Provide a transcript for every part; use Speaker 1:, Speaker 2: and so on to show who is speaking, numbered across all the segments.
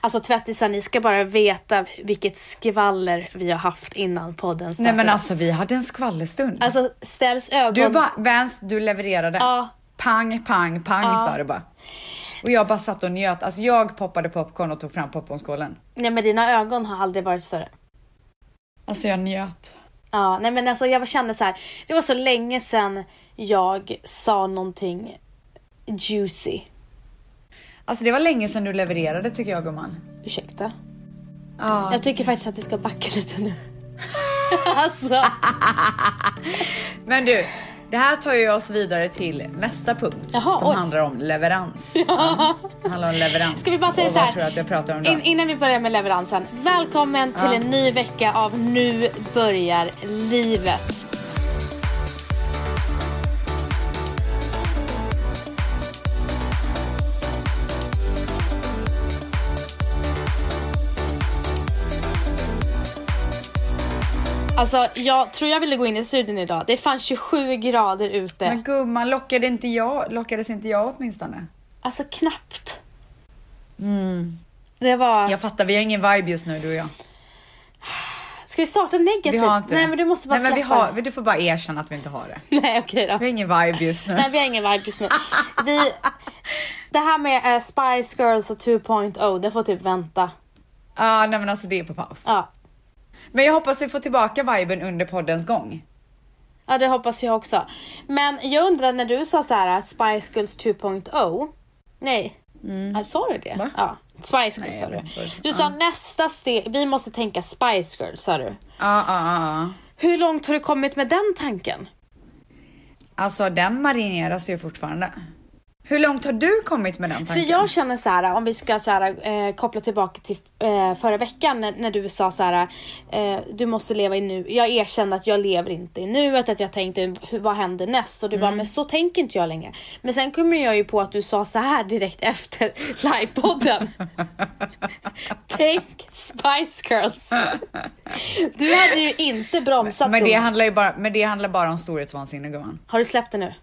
Speaker 1: Alltså tvättisar, ni ska bara veta vilket skvaller vi har haft innan podden
Speaker 2: Nej
Speaker 1: startades.
Speaker 2: men alltså vi hade en skvallerstund.
Speaker 1: Alltså ställs ögon...
Speaker 2: du bara, Vans, du levererade.
Speaker 1: Ja.
Speaker 2: Pang, pang, pang sa du bara. Och jag bara satt och njöt. Alltså jag poppade popcorn och tog fram popcornskålen.
Speaker 1: Nej men dina ögon har aldrig varit större.
Speaker 2: Alltså jag njöt.
Speaker 1: Ja, nej men alltså jag kände så här. Det var så länge sedan jag sa någonting juicy.
Speaker 2: Alltså det var länge sedan du levererade tycker jag gumman.
Speaker 1: Ursäkta.
Speaker 2: Ja.
Speaker 1: Jag tycker faktiskt att vi ska backa lite nu. alltså,
Speaker 2: Men du, det här tar ju oss vidare till nästa punkt
Speaker 1: Jaha,
Speaker 2: som
Speaker 1: oj.
Speaker 2: handlar om leverans. Ja, det handlar om leverans.
Speaker 1: Ska vi bara säga
Speaker 2: och
Speaker 1: så här?
Speaker 2: Vad tror du att jag pratar om då?
Speaker 1: in, innan vi börjar med leveransen. Välkommen till
Speaker 2: Ja.
Speaker 1: en ny vecka av Nu börjar livet. Alltså, jag tror jag ville gå in i studion idag. Det är fan 27 grader ute.
Speaker 2: Men gumman, lockade inte jag, lockades inte jag åtminstone?
Speaker 1: Alltså knappt. Det var...
Speaker 2: Jag fattar, vi har ingen vibe just nu du och jag.
Speaker 1: Ska vi starta negativt?
Speaker 2: Vi har inte
Speaker 1: Typ. Nej
Speaker 2: det.
Speaker 1: men du måste bara
Speaker 2: Nej, men vi
Speaker 1: släppa
Speaker 2: har,
Speaker 1: det.
Speaker 2: Du får bara erkänna att vi inte har det.
Speaker 1: Nej okej
Speaker 2: Vi
Speaker 1: då.
Speaker 2: har ingen vibe just nu.
Speaker 1: Nej vi har ingen vibe just nu. Vi... Det här med eh, Spice Girls och 2.0 det får typ vänta.
Speaker 2: Ja, nej men alltså det är på paus.
Speaker 1: Ja.
Speaker 2: Men jag hoppas vi får tillbaka viben under poddens gång.
Speaker 1: ja det hoppas jag också. Men jag undrar när du sa så här eh, Spice Girls 2.0. Nej. Ja, sa du det?
Speaker 2: Mm. Va?
Speaker 1: Ja. Spice Girls
Speaker 2: Nej,
Speaker 1: sa
Speaker 2: jag
Speaker 1: du.
Speaker 2: vet inte vad det-
Speaker 1: Du sa nästa steg, vi måste tänka Spice Girls sa du.
Speaker 2: Ja, ja, ja. ja.
Speaker 1: Hur långt har du kommit med den tanken?
Speaker 2: Alltså den marineras ju fortfarande. Hur långt har du kommit med den tanken?
Speaker 1: För jag känner så här, om vi ska så här, eh, koppla tillbaka till eh, förra veckan när, när du sa så här, eh, du måste leva i nu. Jag erkände att jag lever inte i nuet, att jag tänkte hur, vad händer näst? Och du
Speaker 2: Mm.
Speaker 1: bara, men så tänker inte jag längre. Men sen kommer jag ju på att du sa så här direkt efter livepodden. Tänk Spice Girls. Du hade ju inte bromsat
Speaker 2: men, det
Speaker 1: gumman.
Speaker 2: handlar ju bara, men det handlar bara om storhetsvansinne gumman.
Speaker 1: Har du släppt det nu?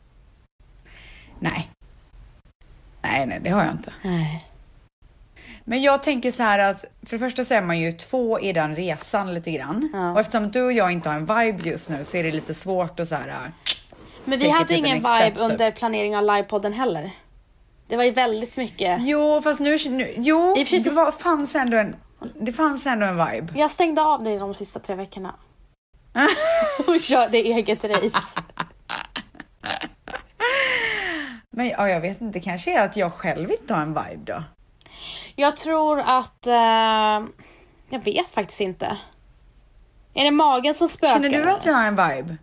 Speaker 2: Nej. Nej, nej, det har jag inte.
Speaker 1: Nej.
Speaker 2: Men jag tänker så här att för det första så är man ju två i den resan lite grann.
Speaker 1: Ja.
Speaker 2: Och eftersom du och jag inte har en vibe just nu så är det lite svårt att så här. äh,
Speaker 1: Men vi
Speaker 2: Take it
Speaker 1: hade
Speaker 2: to the
Speaker 1: ingen
Speaker 2: next
Speaker 1: vibe
Speaker 2: step, typ.
Speaker 1: under planering av livepodden heller. Det var ju väldigt mycket.
Speaker 2: Jo, fast nu, nu jo,
Speaker 1: I och för sig
Speaker 2: det
Speaker 1: så-
Speaker 2: var, fanns ändå en, det fanns ändå en vibe.
Speaker 1: Jag stängde av dig de sista tre veckorna. Och körde eget race.
Speaker 2: Men ja, jag vet inte, det kanske är att jag själv inte har en vibe då.
Speaker 1: Jag tror att... Eh, jag vet faktiskt inte. Är det magen som spökar?
Speaker 2: Känner du att jag har en vibe?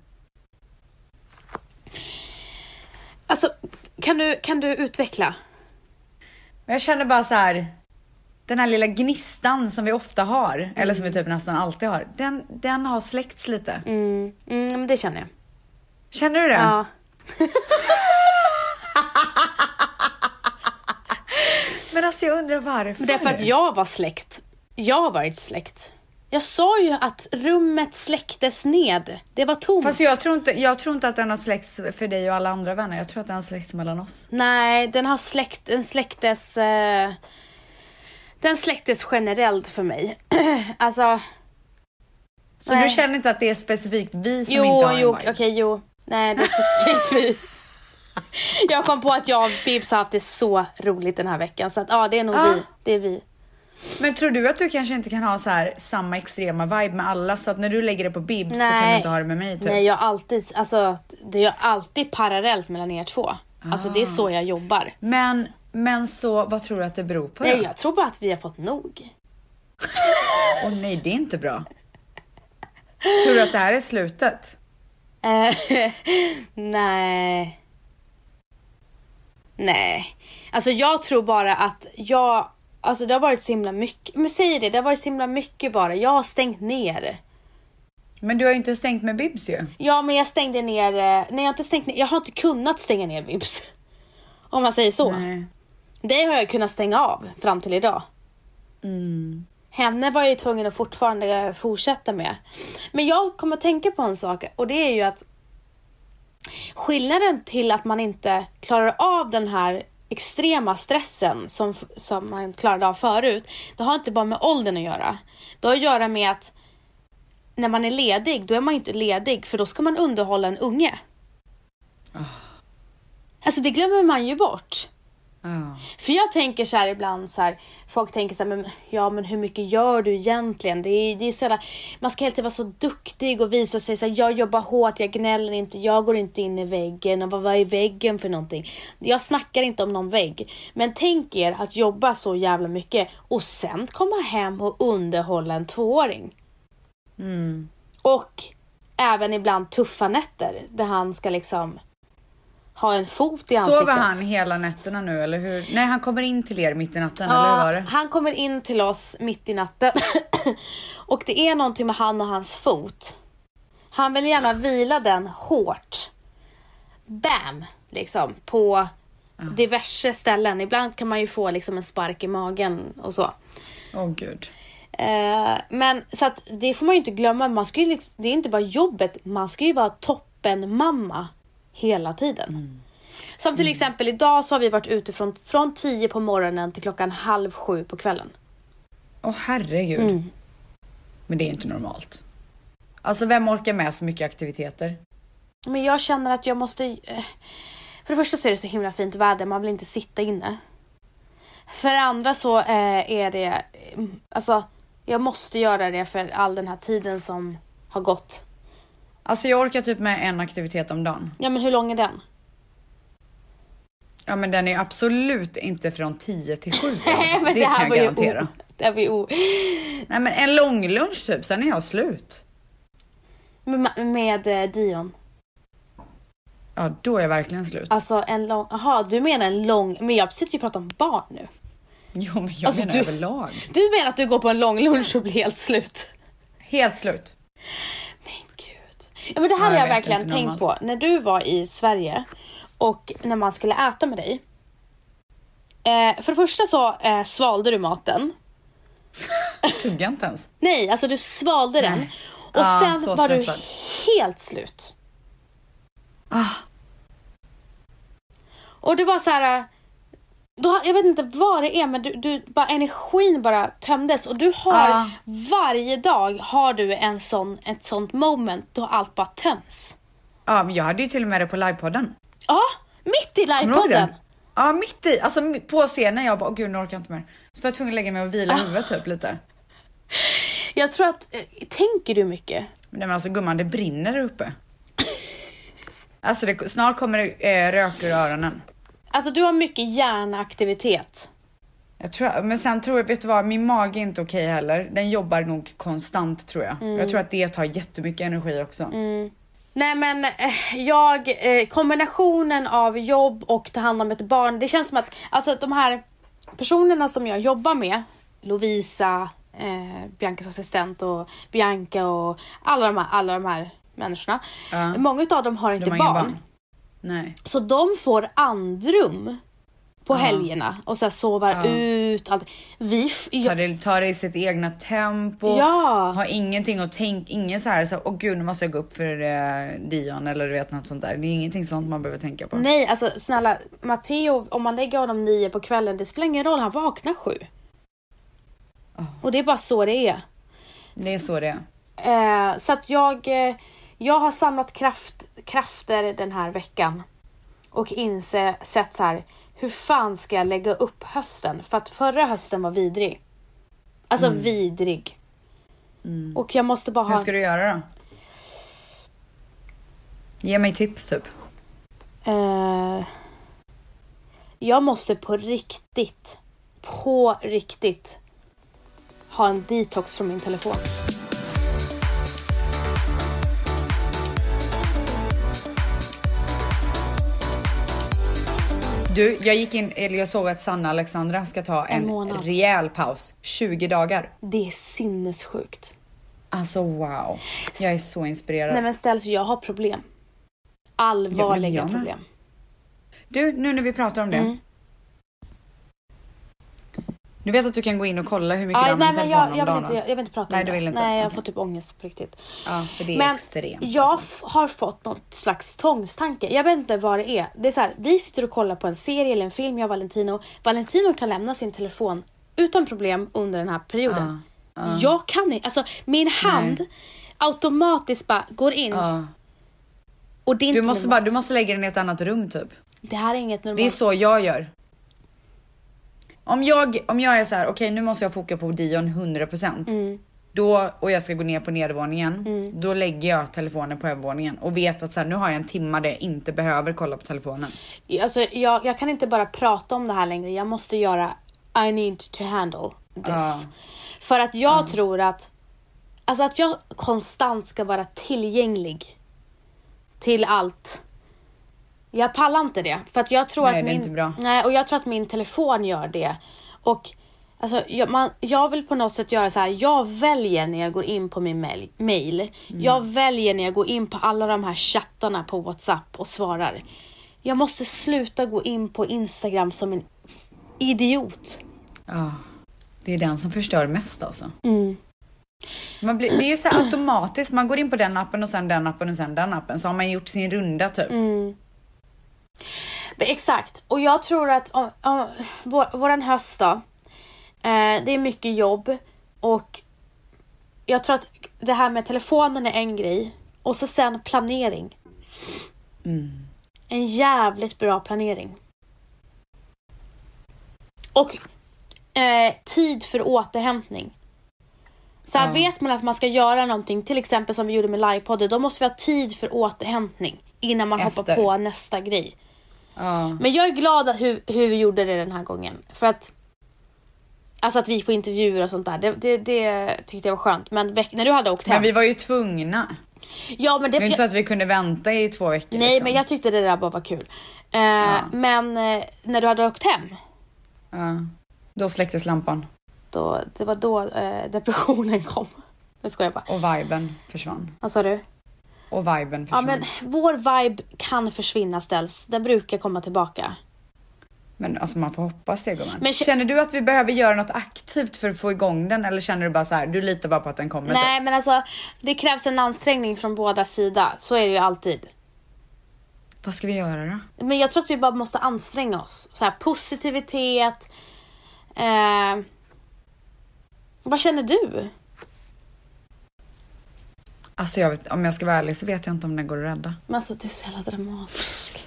Speaker 1: Alltså, kan du, kan du utveckla?
Speaker 2: Men jag känner bara så här. Den här lilla gnistan som vi ofta har, eller som vi typ nästan alltid har, den, den har släckts lite.
Speaker 1: Mm, mm men det känner jag.
Speaker 2: Känner du det?
Speaker 1: Ja.
Speaker 2: Men alltså jag undrar varför.
Speaker 1: Därför att jag var släkt. Jag har varit släkt. Jag sa ju att rummet släcktes ned. Det var tomt.
Speaker 2: Fast jag tror, inte, jag tror inte att den har släckts för dig och alla andra vänner. Jag tror att den har släckts mellan oss.
Speaker 1: Nej, den har släkt, den släcktes... Eh, den släcktes generellt för mig. alltså,
Speaker 2: Så
Speaker 1: Nej.
Speaker 2: du känner inte att det är specifikt vi som
Speaker 1: jo,
Speaker 2: inte har
Speaker 1: jo,
Speaker 2: en
Speaker 1: okej,
Speaker 2: vibe?
Speaker 1: jo. Nej, det är specifikt vi. Jag kom på att jag och Bibs har haft det så roligt den här veckan. Så att ja, det är nog
Speaker 2: Ja.
Speaker 1: vi. Det är vi.
Speaker 2: Men tror du att du kanske inte kan ha så här samma extrema vibe med alla? Så att när du lägger det på Bibs så kan du
Speaker 1: Nej.
Speaker 2: inte ha det med mig typ?
Speaker 1: Nej, jag har alltid, alltså, det är alltid parallellt mellan er två. Alltså det är
Speaker 2: Ah.
Speaker 1: så jag jobbar.
Speaker 2: Men, men så, vad tror du att det beror på
Speaker 1: Nej,
Speaker 2: då?
Speaker 1: jag tror bara att vi har fått nog.
Speaker 2: Åh nej, det är inte bra. Tror du att det här är slutet?
Speaker 1: Eh, nej. Nej. Alltså jag tror bara att jag, alltså det har varit så himla mycket, men säg det, det har varit så himla mycket bara. Jag har stängt ner.
Speaker 2: Men du har ju inte stängt med Bibs ju.
Speaker 1: Ja men jag stängde ner, eh, nej jag har inte stängt ner, jag har inte kunnat stänga ner Vibs. Om man säger så.
Speaker 2: Nej.
Speaker 1: Det har jag kunnat stänga av fram till idag. Henne var jag ju tvungen att fortfarande fortsätta med. Men jag kommer att tänka på en sak och det är ju att skillnaden till att man inte klarar av den här extrema stressen som, som man klarade av förut, det har inte bara med åldern att göra. Det har att göra med att när man är ledig, då är man ju inte ledig för då ska man underhålla en unge. Alltså det glömmer man ju bort.
Speaker 2: Ja.
Speaker 1: För jag tänker så här ibland så här, folk tänker så här, men, ja men hur mycket gör du egentligen? Det är, det är så jävla, man ska hela tiden vara så duktig och visa sig så här, jag jobbar hårt, jag gnäller inte, jag går inte in i väggen och vad, vad är väggen för någonting? Jag snackar inte om någon vägg. Men tänk er att jobba så jävla mycket och sen komma hem och underhålla en tvååring.
Speaker 2: Mm.
Speaker 1: Och även ibland tuffa nätter där han ska liksom ha en fot i ansiktet.
Speaker 2: Sover han hela nätterna nu eller hur? Nej han kommer in till er mitt i natten eller hur var det?
Speaker 1: han kommer in till oss mitt i natten. och det är någonting med han och hans fot. Han vill gärna vila den hårt. Bam! Liksom på diverse ställen. Ibland kan man ju få liksom en spark i magen och så.
Speaker 2: Åh gud.
Speaker 1: Eh, men så att det får man ju inte glömma. Man ska ju liksom, det är inte bara jobbet, man ska ju vara toppen mamma hela tiden.
Speaker 2: Mm.
Speaker 1: Som till exempel idag så har vi varit ute från, från 10 på morgonen till klockan halv sju på kvällen.
Speaker 2: Åh herregud.
Speaker 1: Mm.
Speaker 2: Men det är inte normalt. Alltså vem orkar med så mycket aktiviteter?
Speaker 1: Men jag känner att jag måste... eh, För det första så är det så himla fint väder, man vill inte sitta inne. För det andra så eh, är det... eh, Alltså, jag måste göra det för all den här tiden som har gått.
Speaker 2: Alltså jag orkar typ med en aktivitet om dagen.
Speaker 1: Ja, men hur lång är den?
Speaker 2: Ja men den är absolut inte från 10 till 7.
Speaker 1: Nej,
Speaker 2: Alltså.
Speaker 1: men
Speaker 2: Det kan jag
Speaker 1: var ju
Speaker 2: garantera.
Speaker 1: O, det här var ju o...
Speaker 2: Nej men en lång lunch typ, sen är jag slut.
Speaker 1: Med, med eh, Dion.
Speaker 2: Ja då är jag verkligen slut.
Speaker 1: Alltså en lång... Jaha, du menar en lång... Men jag sitter ju och pratar om barn nu.
Speaker 2: jo men jag
Speaker 1: alltså,
Speaker 2: menar
Speaker 1: du-
Speaker 2: överlag.
Speaker 1: Du menar att du går på en lång lunch och blir helt slut?
Speaker 2: Helt slut.
Speaker 1: Men gud. Ja, men det här
Speaker 2: Ja, jag
Speaker 1: har jag
Speaker 2: vet
Speaker 1: verkligen
Speaker 2: inte
Speaker 1: tänkt på.
Speaker 2: normalt.
Speaker 1: När du var i Sverige och när man skulle äta med dig. Eh, för det första så eh, svalde du maten.
Speaker 2: Tugga inte ens.
Speaker 1: Nej, alltså du svalde den. Och
Speaker 2: Ja, Ah, så
Speaker 1: sen var
Speaker 2: stressad.
Speaker 1: du helt slut.
Speaker 2: Ah,
Speaker 1: Och det var så här. eh, Du har, jag vet inte vad det är men du, du, bara, energin bara tömdes och du har
Speaker 2: Ja.
Speaker 1: varje dag har du en sån, ett sånt moment då allt bara töms.
Speaker 2: ja men jag hade ju till och med det på livepodden.
Speaker 1: Ja, mitt i
Speaker 2: Kommer du ihåg
Speaker 1: livepodden.
Speaker 2: det? Ja mitt i, alltså mi- på scenen jag bara åh gud nu orkar jag inte mer. Så var jag tvungen att lägga mig och
Speaker 1: Ah.
Speaker 2: vila huvudet typ lite.
Speaker 1: Jag tror att, eh, tänker du mycket?
Speaker 2: Men nej, men alltså gumman, det brinner där uppe. Alltså det, snart kommer det eh, rök ur öronen.
Speaker 1: Alltså du har mycket hjärnaktivitet.
Speaker 2: Jag tror, men sen tror jag, vet du vad, min mage är inte okej heller. Den jobbar nog konstant tror jag.
Speaker 1: Mm.
Speaker 2: Jag tror att det tar jättemycket energi också.
Speaker 1: Nej men eh, jag, eh, kombinationen av jobb och ta hand om ett barn. Det känns som att alltså, de här personerna som jag jobbar med, Lovisa, eh, Biancas assistent och Bianca och alla de här, alla de här människorna.
Speaker 2: Ja.
Speaker 1: Många av dem har inte
Speaker 2: De har inga
Speaker 1: barn,
Speaker 2: Nej.
Speaker 1: Så de får andrum på helgerna och så här sover ut. Allt. Vi, f-
Speaker 2: Tar
Speaker 1: jag,
Speaker 2: det, tar det i sitt egna tempo.
Speaker 1: Ja.
Speaker 2: Har ingenting att tänka, ingen så här, så, åh gud nu måste jag gå upp för eh, Dion eller du vet något sånt där. Det är ingenting sånt man behöver tänka på.
Speaker 1: Nej, alltså snälla Matteo, om man lägger honom nio på kvällen, det spelar ingen roll, han vaknar sju.
Speaker 2: Ah.
Speaker 1: Och det är bara så det är.
Speaker 2: Det är så det är.
Speaker 1: Eh, så att jag, eh, jag har samlat kraft, krafter den här veckan och insett så här, hur fan ska jag lägga upp hösten? För att förra hösten var vidrig. Alltså vidrig. Och jag måste bara
Speaker 2: Mm. Hur
Speaker 1: ha...
Speaker 2: ska du göra då? Ge mig tips typ.
Speaker 1: Eh, jag måste på riktigt, på riktigt ha en detox från min telefon.
Speaker 2: Du, jag gick in, eller jag såg att Sanna Alexandra ska ta en,
Speaker 1: månad.
Speaker 2: rejäl paus. 20 dagar.
Speaker 1: Det är sinnessjukt.
Speaker 2: Alltså wow. Jag är så inspirerad.
Speaker 1: Nej men ställs, jag har problem.
Speaker 2: Ja,
Speaker 1: Allvarliga
Speaker 2: men jag med.
Speaker 1: problem. Mm.
Speaker 2: Du, nu när vi pratar om det. Du vet att du kan gå in och kolla hur mycket du
Speaker 1: Aj, nej,
Speaker 2: använder
Speaker 1: men jag,
Speaker 2: telefonen
Speaker 1: jag,
Speaker 2: om
Speaker 1: vill
Speaker 2: dagen?
Speaker 1: inte,
Speaker 2: va?
Speaker 1: jag, jag vill inte prata
Speaker 2: Nej,
Speaker 1: om
Speaker 2: du
Speaker 1: det.
Speaker 2: vill inte.
Speaker 1: Nej, jag
Speaker 2: Okej.
Speaker 1: får typ ångest på riktigt.
Speaker 2: Ja, för det är
Speaker 1: Men
Speaker 2: extremt.
Speaker 1: jag
Speaker 2: alltså.
Speaker 1: f- har fått något slags tvångstanke. Jag vet inte vad det är. Det är så här, vi sitter och kollar på en serie eller en film, jag och Valentino. Valentino kan lämna sin telefon utan problem under den här perioden. Jag kan inte. Alltså min hand automatiskt bara går in.
Speaker 2: Ja.
Speaker 1: Och det är inte
Speaker 2: Du måste, bara,
Speaker 1: normalt.
Speaker 2: du måste lägga den i ett annat rum typ.
Speaker 1: Det här är inget normalt.
Speaker 2: Det är så jag gör. Om jag, om jag är så här, okej nu måste jag foka på Dion 100%.
Speaker 1: Mm.
Speaker 2: Då, och jag ska gå ner på nedervåningen. Då lägger jag telefonen på övervåningen och vet att så här, nu har jag en timme där jag inte behöver kolla på telefonen.
Speaker 1: Alltså, jag, jag kan inte bara prata om det här längre. Jag måste göra I need to handle this.
Speaker 2: Ja.
Speaker 1: För att jag tror att Alltså att jag konstant ska vara tillgänglig till allt. Jag pallar inte det. För att jag tror
Speaker 2: Nej,
Speaker 1: att
Speaker 2: det är
Speaker 1: min,
Speaker 2: inte bra.
Speaker 1: Nej, och jag tror att min telefon gör det. Och alltså, jag, man, jag vill på något sätt göra så här. Jag väljer när jag går in på min mail. mail.
Speaker 2: Mm.
Speaker 1: Jag väljer när jag går in på alla de här chattarna på WhatsApp och svarar. Jag måste sluta gå in på Instagram som en idiot.
Speaker 2: Ja. Det är den som förstör mest alltså.
Speaker 1: Mm.
Speaker 2: Man blir, det är ju så här automatiskt, man går in på den appen och sen den appen och sen den appen. Så har man gjort sin runda typ.
Speaker 1: Mm. Det- Exakt. Och jag tror att om, om, vår, våran höst då. Eh, det är mycket jobb och jag tror att det här med telefonen är en grej och så sen planering.
Speaker 2: Mm.
Speaker 1: En jävligt bra planering. Och eh, tid för återhämtning. Så här,
Speaker 2: Ja.
Speaker 1: vet man att man ska göra någonting, till exempel som vi gjorde med livepodden, då måste vi ha tid för återhämtning innan man hoppar
Speaker 2: Efter.
Speaker 1: på nästa grej.
Speaker 2: Ja.
Speaker 1: Men jag är glad att hur, hur vi gjorde det den här gången. För att Alltså att vi gick på intervjuer och sånt där. Det, det, det tyckte jag var skönt. Men veck- när du hade åkt hem.
Speaker 2: Men vi var ju tvungna.
Speaker 1: ja, men det,
Speaker 2: Det är inte så att vi kunde vänta i två veckor.
Speaker 1: nej,
Speaker 2: liksom.
Speaker 1: men jag tyckte det där bara var kul. Eh, Men eh, när du hade åkt hem.
Speaker 2: Ja. Då släcktes lampan
Speaker 1: Då, det var då eh, depressionen kom. Nu skojar jag bara.
Speaker 2: och viben försvann.
Speaker 1: Vad sa du?
Speaker 2: Och viben
Speaker 1: Ja,
Speaker 2: försvann.
Speaker 1: men
Speaker 2: men...
Speaker 1: vår vibe kan försvinna ställs. Den brukar komma tillbaka.
Speaker 2: alltså man får hoppas det gumman.
Speaker 1: Men kä-
Speaker 2: Känner du att vi behöver göra något aktivt för att få igång den eller känner du bara så här, du litar bara på att den kommer? typ?
Speaker 1: Nej, men alltså det krävs en ansträngning från båda sidor. Så är det ju alltid.
Speaker 2: Typ? Vad ska vi göra då?
Speaker 1: Men jag tror att vi bara måste anstränga oss. Så här, positivitet. Eh, vad känner du?
Speaker 2: Alltså jag vet, om jag ska vara ärlig så vet jag inte om den går att rädda.
Speaker 1: Men alltså du är så jävla dramatisk.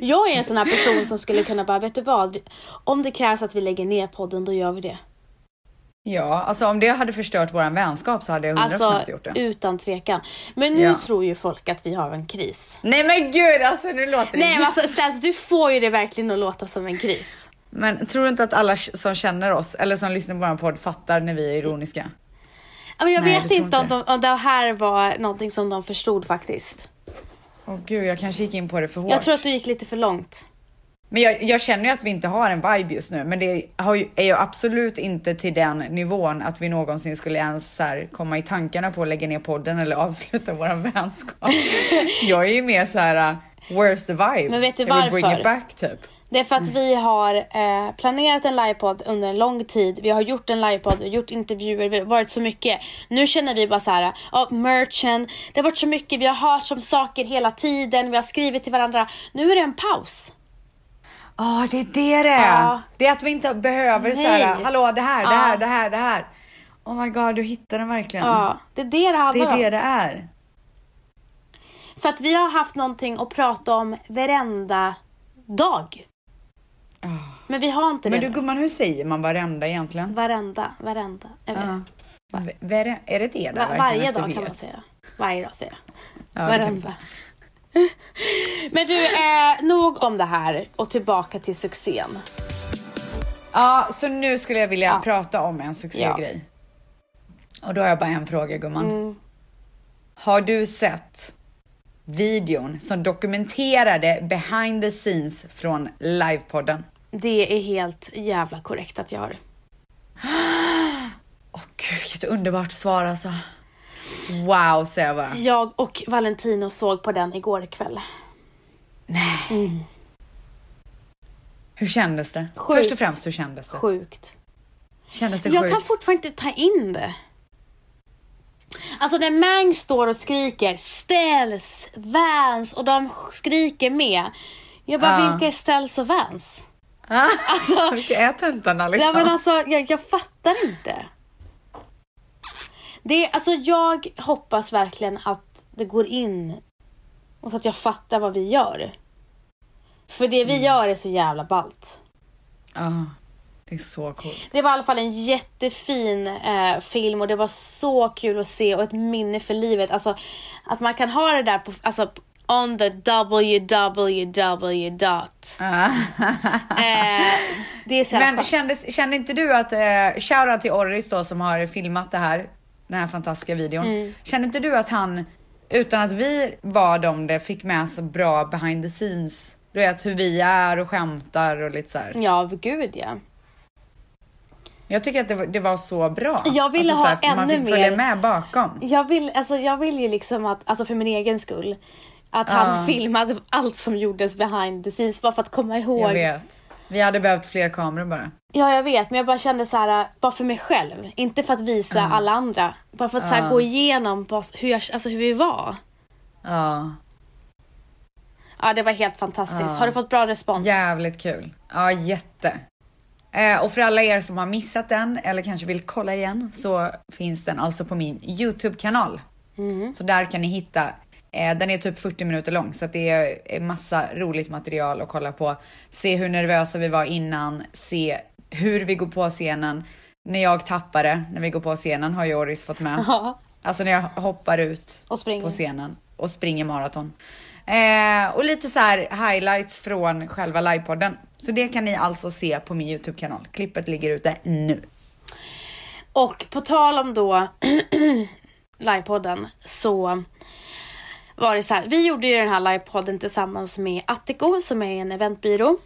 Speaker 1: Jag är en sån här person som skulle kunna bara, vet du vad? Vi- Om det krävs att vi lägger ner podden, då gör vi
Speaker 2: Mm,
Speaker 1: det.
Speaker 2: Ja, alltså om det hade förstört våran vänskap så hade jag 100%
Speaker 1: Alltså
Speaker 2: gjort det.
Speaker 1: utan tvekan. Men nu
Speaker 2: Ja.
Speaker 1: tror ju folk att vi har en kris.
Speaker 2: Nej men gud alltså nu låter det...
Speaker 1: Nej men alltså Sens, du får ju det verkligen att låta som en kris.
Speaker 2: Men tror du inte att alla som känner oss eller som lyssnar på våran podd fattar när vi är ironiska?
Speaker 1: Ja, Men jag
Speaker 2: Nej, det
Speaker 1: vet
Speaker 2: tror
Speaker 1: inte om,
Speaker 2: inte
Speaker 1: de, om det här var någonting som de förstod faktiskt.
Speaker 2: Åh gud, jag kanske gick in på det för hårt.
Speaker 1: Jag tror att du gick lite för långt.
Speaker 2: Men jag, jag känner ju att vi inte har en vibe just nu, men det har ju, är ju absolut inte till den nivån att vi någonsin skulle ens så här komma i tankarna på att lägga ner podden eller avsluta våran vänskap. jag är ju mer så här, uh, where's the vibe?
Speaker 1: Men vet du
Speaker 2: Jag vill bring
Speaker 1: varför?
Speaker 2: it back typ.
Speaker 1: Det är för att vi har eh, planerat en livepodd under en lång tid. Vi har gjort en livepodd, vi har gjort intervjuer, vi har varit så mycket. Nu känner vi bara så här, ja, merchen, det har varit så mycket, vi har hört om saker hela tiden, vi har skrivit till varandra. Nu är det en paus.
Speaker 2: Ja, det är det det är.
Speaker 1: Ja.
Speaker 2: Det är att vi inte behöver så här,
Speaker 1: Nej.
Speaker 2: hallå det här, det
Speaker 1: Ja.
Speaker 2: här, det här, det här. Oh my god, du hittar den verkligen.
Speaker 1: Ja, det är det det
Speaker 2: Det
Speaker 1: handlar
Speaker 2: är det
Speaker 1: om.
Speaker 2: det är.
Speaker 1: För att vi har haft någonting att prata om varenda dag. Men vi har inte
Speaker 2: Men
Speaker 1: det
Speaker 2: du
Speaker 1: nu.
Speaker 2: gumman, hur säger man varenda egentligen?
Speaker 1: Varenda, varenda. Jag vet.
Speaker 2: Ja. Va- Är det är det, det där
Speaker 1: Va-
Speaker 2: verkligen
Speaker 1: varje
Speaker 2: efter
Speaker 1: dag kan
Speaker 2: vet?
Speaker 1: man säga. Varje dag säger jag.
Speaker 2: Ja, det kan vi
Speaker 1: Varenda. Men du, eh, nog om det här och tillbaka till succén.
Speaker 2: Ja, så nu skulle jag vilja
Speaker 1: Ja.
Speaker 2: prata om en succégrej. Och då har jag bara en fråga gumman. Har du sett videon som dokumenterade behind the scenes från livepodden?
Speaker 1: Det är helt jävla korrekt att jag har.
Speaker 2: Åh gud, vilket underbart svar alltså. Wow, säger jag bara.
Speaker 1: Jag och Valentino såg på den igår kväll.
Speaker 2: Nej. Hur kändes det?
Speaker 1: Sjukt.
Speaker 2: Först och främst, hur kändes det?
Speaker 1: Sjukt.
Speaker 2: Kändes det
Speaker 1: Jag
Speaker 2: sjukt?
Speaker 1: kan fortfarande inte ta in det. Alltså när Mang står och skriker Ställs, Vans och de skriker med. Jag bara,
Speaker 2: Ja.
Speaker 1: vilka är Ställs och Vans?
Speaker 2: Ah,
Speaker 1: Alltså-
Speaker 2: Vilka är töntarna liksom?
Speaker 1: Nej men alltså jag, jag fattar inte. Det är, alltså jag hoppas verkligen att det går in och så att jag fattar vad vi gör. För det vi gör är så jävla ballt.
Speaker 2: Ja, det är så coolt.
Speaker 1: Det var i alla fall en jättefin eh, film och det var så kul att se och ett minne för livet. Alltså att man kan ha det där på, alltså, on the www. dot.
Speaker 2: Ah.
Speaker 1: Eh, det är så jävla
Speaker 2: Men
Speaker 1: skönt.
Speaker 2: kändes, kände inte du att, eh, shoutout till Orris då som har filmat det här, den här fantastiska videon.
Speaker 1: Mm.
Speaker 2: Kände inte du att han, utan att vi var de det, fick med så bra behind the scenes, du vet hur vi är och skämtar och lite så här.
Speaker 1: Ja, gud ja.
Speaker 2: Jag tycker att det var, det var så bra. Alltså,
Speaker 1: Jag ville
Speaker 2: så
Speaker 1: ha
Speaker 2: Man
Speaker 1: ännu
Speaker 2: fick följa
Speaker 1: mer.
Speaker 2: med bakom.
Speaker 1: Jag vill, alltså, jag vill ju liksom att, alltså för min egen skull, att han filmade allt som gjordes behind the scenes bara för att komma ihåg.
Speaker 2: Jag vet. Vi hade behövt fler kameror bara.
Speaker 1: Ja, jag vet, men jag bara kände så här, bara för mig själv, inte för att visa alla andra. Bara för att så här, gå igenom bara hur, jag, alltså, hur vi var.
Speaker 2: Ja,
Speaker 1: Ja, det var helt fantastiskt. Har du fått bra respons?
Speaker 2: jävligt kul. Ja, jätte. Eh, och för alla er som har missat den eller kanske vill kolla igen så finns den alltså på min Youtube-kanal. Så där kan ni hitta. Eh, den är typ 40 minuter lång så att det är är massa roligt material att kolla på. Se hur nervösa vi var innan, se hur vi går på scenen. När jag tappade, när vi går på scenen har Joris fått med.
Speaker 1: Ja.
Speaker 2: Alltså när jag hoppar ut
Speaker 1: Och springer.
Speaker 2: på scenen och springer maraton. Eh, och lite så här highlights från själva livepodden. Så det kan ni alltså se på min Youtube-kanal. Klippet ligger ute nu.
Speaker 1: Och på tal om då livepodden så var det så här. Vi gjorde ju den här livepodden tillsammans med Attico som är en eventbyrå.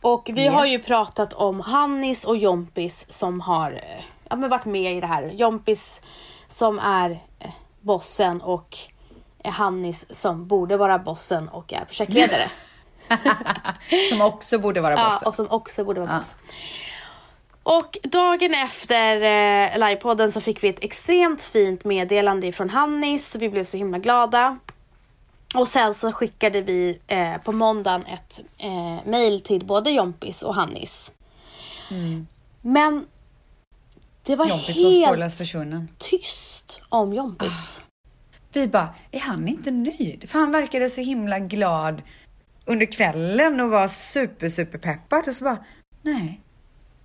Speaker 1: Och vi har ju pratat om Hannis och Jompis som har eh, ja, men varit med i det här. Jompis som är eh, bossen och eh, Hannis som borde vara bossen och är projektledare.
Speaker 2: Som också borde vara
Speaker 1: Ja,
Speaker 2: bossen.
Speaker 1: och som också borde vara boss. Och dagen efter eh, livepodden så fick vi ett extremt fint meddelande från Hannis. Vi blev så himla glada. Och sen så skickade vi eh, på måndagen ett eh, mail till både Jompis och Hannis. Men det var
Speaker 2: Mm. Jompis var Ah.
Speaker 1: helt
Speaker 2: spårlöst försvunnen.
Speaker 1: tyst om Jompis.
Speaker 2: Vi bara, är han inte nöjd? För han verkade så himla glad under kvällen och var super, super peppad. Och så bara, nej.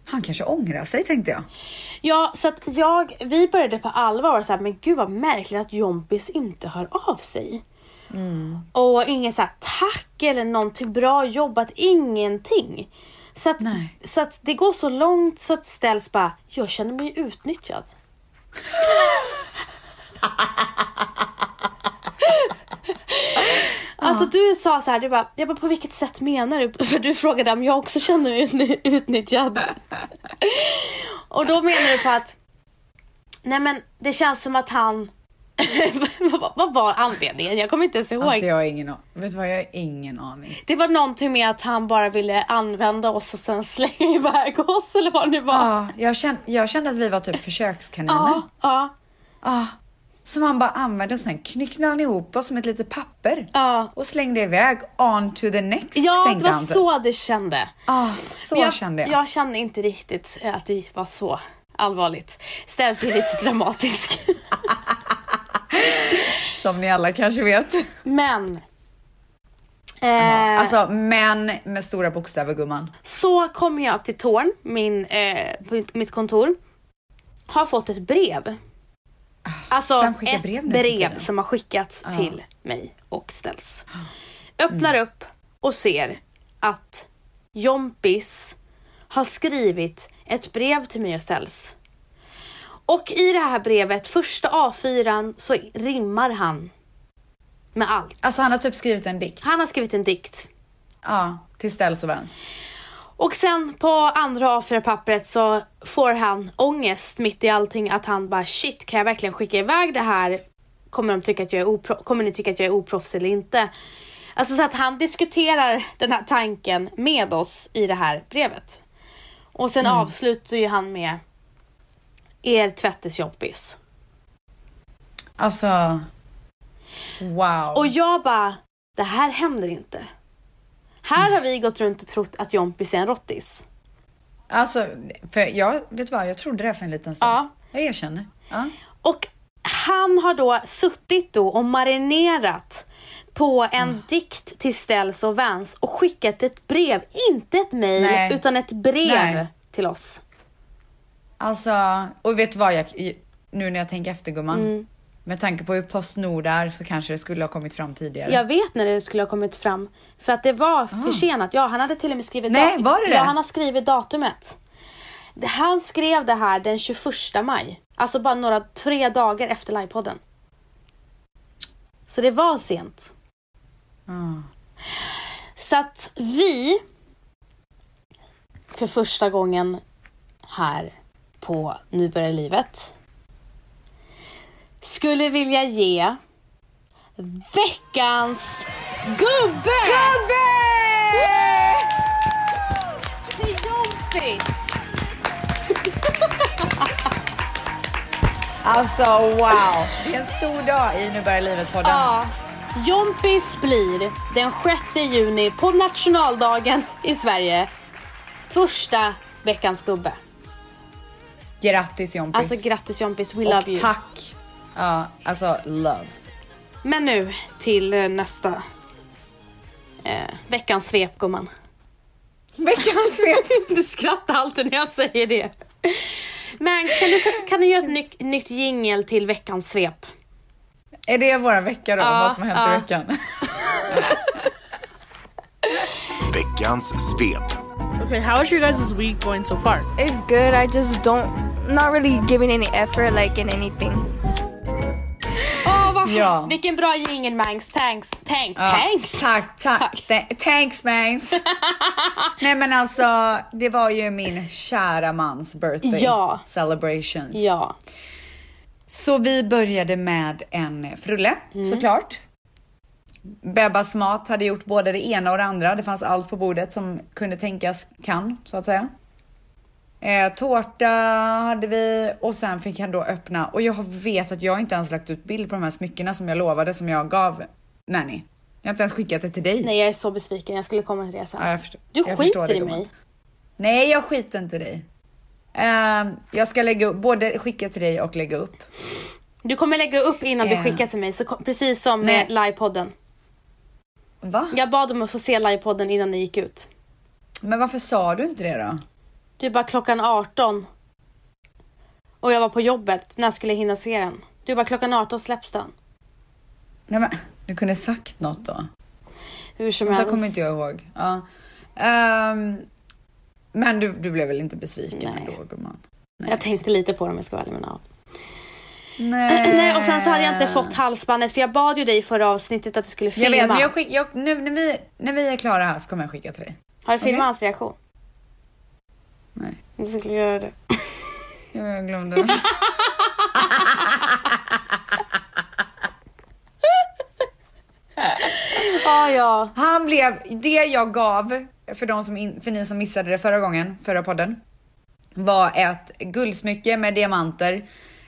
Speaker 2: Han kanske ångrar sig tänkte
Speaker 1: Oh
Speaker 2: jag.
Speaker 1: Ja, så att jag, vi började på allvar vara så här, men gud vad märkligt att Jompis inte hör av sig. Och ingen så här, tack eller någonting, bra jobbat, ingenting. Så att,
Speaker 2: Nej.
Speaker 1: så att det går så långt så att ställs bara, jag känner mig utnyttjad. Alltså du sa så här, du bara, jag bara på vilket sätt menar du? För du frågade om jag också känner mig utny- utnyttjad. Och då menar du på att, nej men det känns som att han, vad, vad var anledningen? Jag kommer inte ens ihåg.
Speaker 2: Alltså jag har ingen aning. Vet du vad, jag har ingen aning.
Speaker 1: Det var någonting med att han bara ville använda oss och sen slänga iväg oss eller vad det nu var.
Speaker 2: Ja, jag, kände, jag kände att vi var typ försökskaniner.
Speaker 1: Ja, ja,
Speaker 2: Ja. Ah, Som han bara använde och sen knycknade han ihop oss som ett litet papper.
Speaker 1: Ja.
Speaker 2: Och slängde iväg on to the next
Speaker 1: ja det
Speaker 2: tänkte
Speaker 1: var
Speaker 2: han. typ.
Speaker 1: så det kände.
Speaker 2: Ja, så
Speaker 1: jag,
Speaker 2: kände jag.
Speaker 1: Jag kände inte riktigt eh, att det var så allvarligt. Ställs är lite dramatisk.
Speaker 2: Som ni alla kanske vet.
Speaker 1: Men. Eh,
Speaker 2: Alltså män med stora bokstäver gumman.
Speaker 1: Så kommer jag till Torn, min, eh, på mitt- mitt kontor. Har fått ett brev. Alltså
Speaker 2: Ah, vem skickar
Speaker 1: ett
Speaker 2: brev
Speaker 1: brev,
Speaker 2: nu för tiden? Ah. Mm.
Speaker 1: som har skickats till mig och ställs. Öppnar upp och ser att Jompis har skrivit ett brev till mig och ställs. Och i det här brevet, första A4 så rimmar han med allt.
Speaker 2: Alltså han har typ skrivit en dikt.
Speaker 1: Han har skrivit en dikt.
Speaker 2: Ja, till Ställs och Vens.
Speaker 1: Och sen på andra A4-pappret så får han ångest mitt i allting att han bara shit kan jag verkligen skicka iväg det här? Kommer, de tycka att jag är opro- kommer ni tycka att jag är oproffs eller inte? Alltså så att han diskuterar den här tanken med oss i det här brevet. Och sen avslutar ju han med Er tvätt är tjompis.
Speaker 2: Alltså... Wow.
Speaker 1: Och jag bara, det här händer inte. Här har vi gått runt och trott att jompis är en rottis.
Speaker 2: Alltså, för jag, vet du vad? Jag trodde det för en liten stund.
Speaker 1: Ja.
Speaker 2: Jag erkänner. Ja.
Speaker 1: Och han har då suttit då och marinerat på en
Speaker 2: Mm.
Speaker 1: dikt till Stells och Vans och skickat ett brev, inte ett
Speaker 2: Nej.
Speaker 1: mejl, utan ett brev
Speaker 2: Nej.
Speaker 1: till oss.
Speaker 2: Alltså, och vet du vad? Jag, nu när jag tänker efter gumman.
Speaker 1: Mm.
Speaker 2: Med tanke på hur Postnord är så kanske det skulle ha kommit fram tidigare.
Speaker 1: Jag vet när det skulle ha kommit fram, för att det var försenat. Ja, han hade till och med skrivit
Speaker 2: Ah. Nej, var det det?
Speaker 1: Ja, han har skrivit datumet. Det- Han skrev det här den 21 maj, alltså bara några tre dagar efter livepodden. Så det var sent.
Speaker 2: Ja.
Speaker 1: Så att vi för första gången här på Nu börjar livet skulle vilja ge veckans gubbe till Jompis!
Speaker 2: Alltså wow! Det är en stor dag i Nu börjar livet-podden.
Speaker 1: Ja. Jompis blir den 6 juni på nationaldagen i Sverige första veckans gubbe.
Speaker 2: Grattis Jompis!
Speaker 1: Alltså grattis Jompis, we
Speaker 2: och
Speaker 1: love you.
Speaker 2: tack! Ja, alltså love.
Speaker 1: Men nu till eh, nästa eh, veckans svep gumman.
Speaker 2: Veckans svep!
Speaker 1: Du skrattar alltid när jag säger det. Men kan du, kan du göra ett nytt, nytt jingel till veckans svep?
Speaker 2: är det våran vecka då?
Speaker 1: Ja,
Speaker 2: vad som har hänt
Speaker 1: ja.
Speaker 2: i veckan?
Speaker 3: Veckans svep.
Speaker 4: Okay, how is your guys' week going so far?
Speaker 5: It's good. I just don't, not really giving any effort, like in anything.
Speaker 1: Åh vad
Speaker 2: Ja.
Speaker 1: Vilken bra jingel Mangs, thanks, thank,
Speaker 2: Ja,
Speaker 1: thanks.
Speaker 2: Tack, tack. Th- Thanks mans. Nej men alltså, det var ju min kära mans birthday
Speaker 1: Ja.
Speaker 2: celebrations.
Speaker 1: Ja,
Speaker 2: Så vi började med en frulle
Speaker 1: Mm.
Speaker 2: såklart. Bebbas mat hade gjort både det ena och det andra. Det fanns allt på bordet som kunde tänkas kan så att säga. Eh, tårta hade vi och sen fick han då öppna och jag vet att jag inte ens lagt ut bild på de här smyckena som jag lovade som jag gav Nanny. Jag har inte ens skickat det till dig.
Speaker 1: nej jag är så besviken, jag skulle komma till det sen.
Speaker 2: Ja, jag förstår-
Speaker 1: du
Speaker 2: jag förstår
Speaker 1: skiter
Speaker 2: det,
Speaker 1: i
Speaker 2: gumman.
Speaker 1: mig.
Speaker 2: Nej, jag skiter inte i dig. Ehm, jag ska lägga upp, både skicka till dig och lägga upp.
Speaker 1: Du kommer lägga upp innan
Speaker 2: Ja.
Speaker 1: du skickar till mig, så, kom- precis som
Speaker 2: Eh. Nej.
Speaker 1: eh, livepodden.
Speaker 2: Va?
Speaker 1: Jag bad om att få se livepodden innan ni gick ut.
Speaker 2: Men varför sa du inte det då?
Speaker 1: Du bara klockan 18. Och jag var på jobbet, när skulle jag hinna se den? Du bara klockan 18 släpps den.
Speaker 2: Nej, men, du kunde sagt något då.
Speaker 1: Hur som
Speaker 2: Det
Speaker 1: helst.
Speaker 2: kommer inte jag ihåg. Ja. Ehm, men du, du blev väl inte besviken
Speaker 1: Nej.
Speaker 2: ändå gumman?
Speaker 1: Jag tänkte lite på det om jag ska vara ärlig med dig.
Speaker 2: Nej.
Speaker 1: Nej och sen så hade jag inte fått halsbandet för jag bad ju dig i förra avsnittet att du skulle
Speaker 2: Eh. Jag
Speaker 1: filma.
Speaker 2: vet, men jag skick, jag, nu när vi, när vi är klara här så kommer jag skicka till dig.
Speaker 1: Har du filmat
Speaker 2: Okej. Mm,
Speaker 1: hans reaktion?
Speaker 2: Nej.
Speaker 1: Jag skulle göra det.
Speaker 2: Jo, jag glömde.
Speaker 1: Ja ja.
Speaker 2: Han blev, det jag gav, för, de som in, för ni som missade det förra gången, förra podden, var ett guldsmycke med diamanter,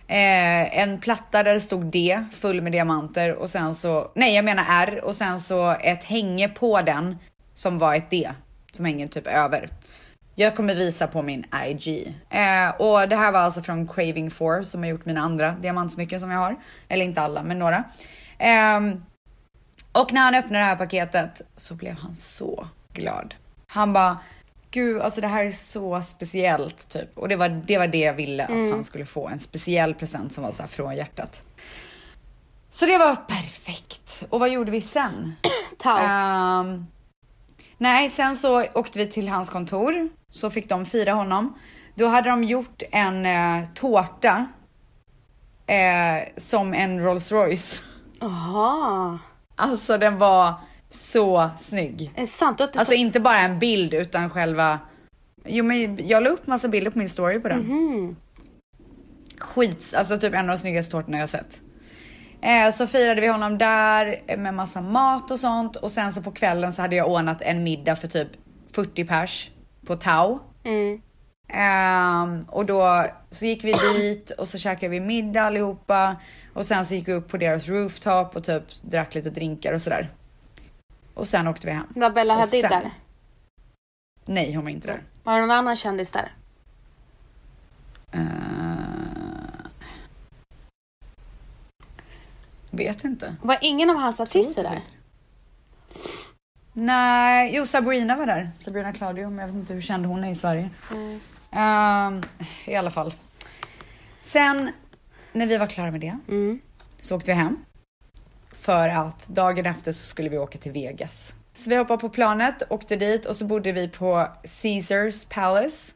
Speaker 2: eh, en platta där det stod D full med diamanter och sen så, nej jag menar R och sen så ett hänge på den som var ett D som hänger typ över. Jag kommer visa på min IG. Eh, och det här var alltså från Craving 4 som har gjort mina andra diamantsmycken som jag har. Eller inte alla, men några. Ehm, och när han öppnade det här paketet så blev han så glad. Han bara, gud alltså det här är så speciellt typ. Och det var det, var det jag ville att han skulle få. En speciell present som var så här från hjärtat. Så det var perfekt. Och vad gjorde vi sen?
Speaker 1: Tau.
Speaker 2: Ehm, nej, sen så åkte vi till hans kontor. Så fick de fira honom. Då hade de gjort en eh, tårta. Eh, som en Rolls Royce.
Speaker 1: Jaha.
Speaker 2: Alltså den var så snygg.
Speaker 1: Är det sant? Du har inte
Speaker 2: Alltså
Speaker 1: tagit-
Speaker 2: inte bara en bild utan själva... Jo men jag la upp massa bilder på min story på den. Skits, alltså typ en av de snyggaste tårtorna jag har sett. Eh, så firade vi honom där eh, med massa mat och sånt och sen så på kvällen så hade jag ordnat en middag för typ 40 pers på Tau.
Speaker 1: Mm.
Speaker 2: Ehm, och då så gick vi dit och så käkade vi middag allihopa och sen så gick vi upp på deras rooftop och typ drack lite drinkar och sådär. Och sen åkte vi hem.
Speaker 1: Var Bella
Speaker 2: Och
Speaker 1: Hadid
Speaker 2: sen-
Speaker 1: där?
Speaker 2: Nej, hon var inte där.
Speaker 1: Var det någon annan kändis där?
Speaker 2: Ehm, vet inte.
Speaker 1: Var ingen av hans artister där?
Speaker 2: Nej, jo Sabrina var där. Sabrina Claudio, men jag vet inte hur känd hon är i Sverige.
Speaker 1: Mm.
Speaker 2: Ehm, I alla fall. Sen när vi var klara med det
Speaker 1: Mm.
Speaker 2: så åkte vi hem. För att dagen efter så skulle vi åka till Vegas. Så vi hoppade på planet, åkte dit och så bodde vi på Caesars Palace.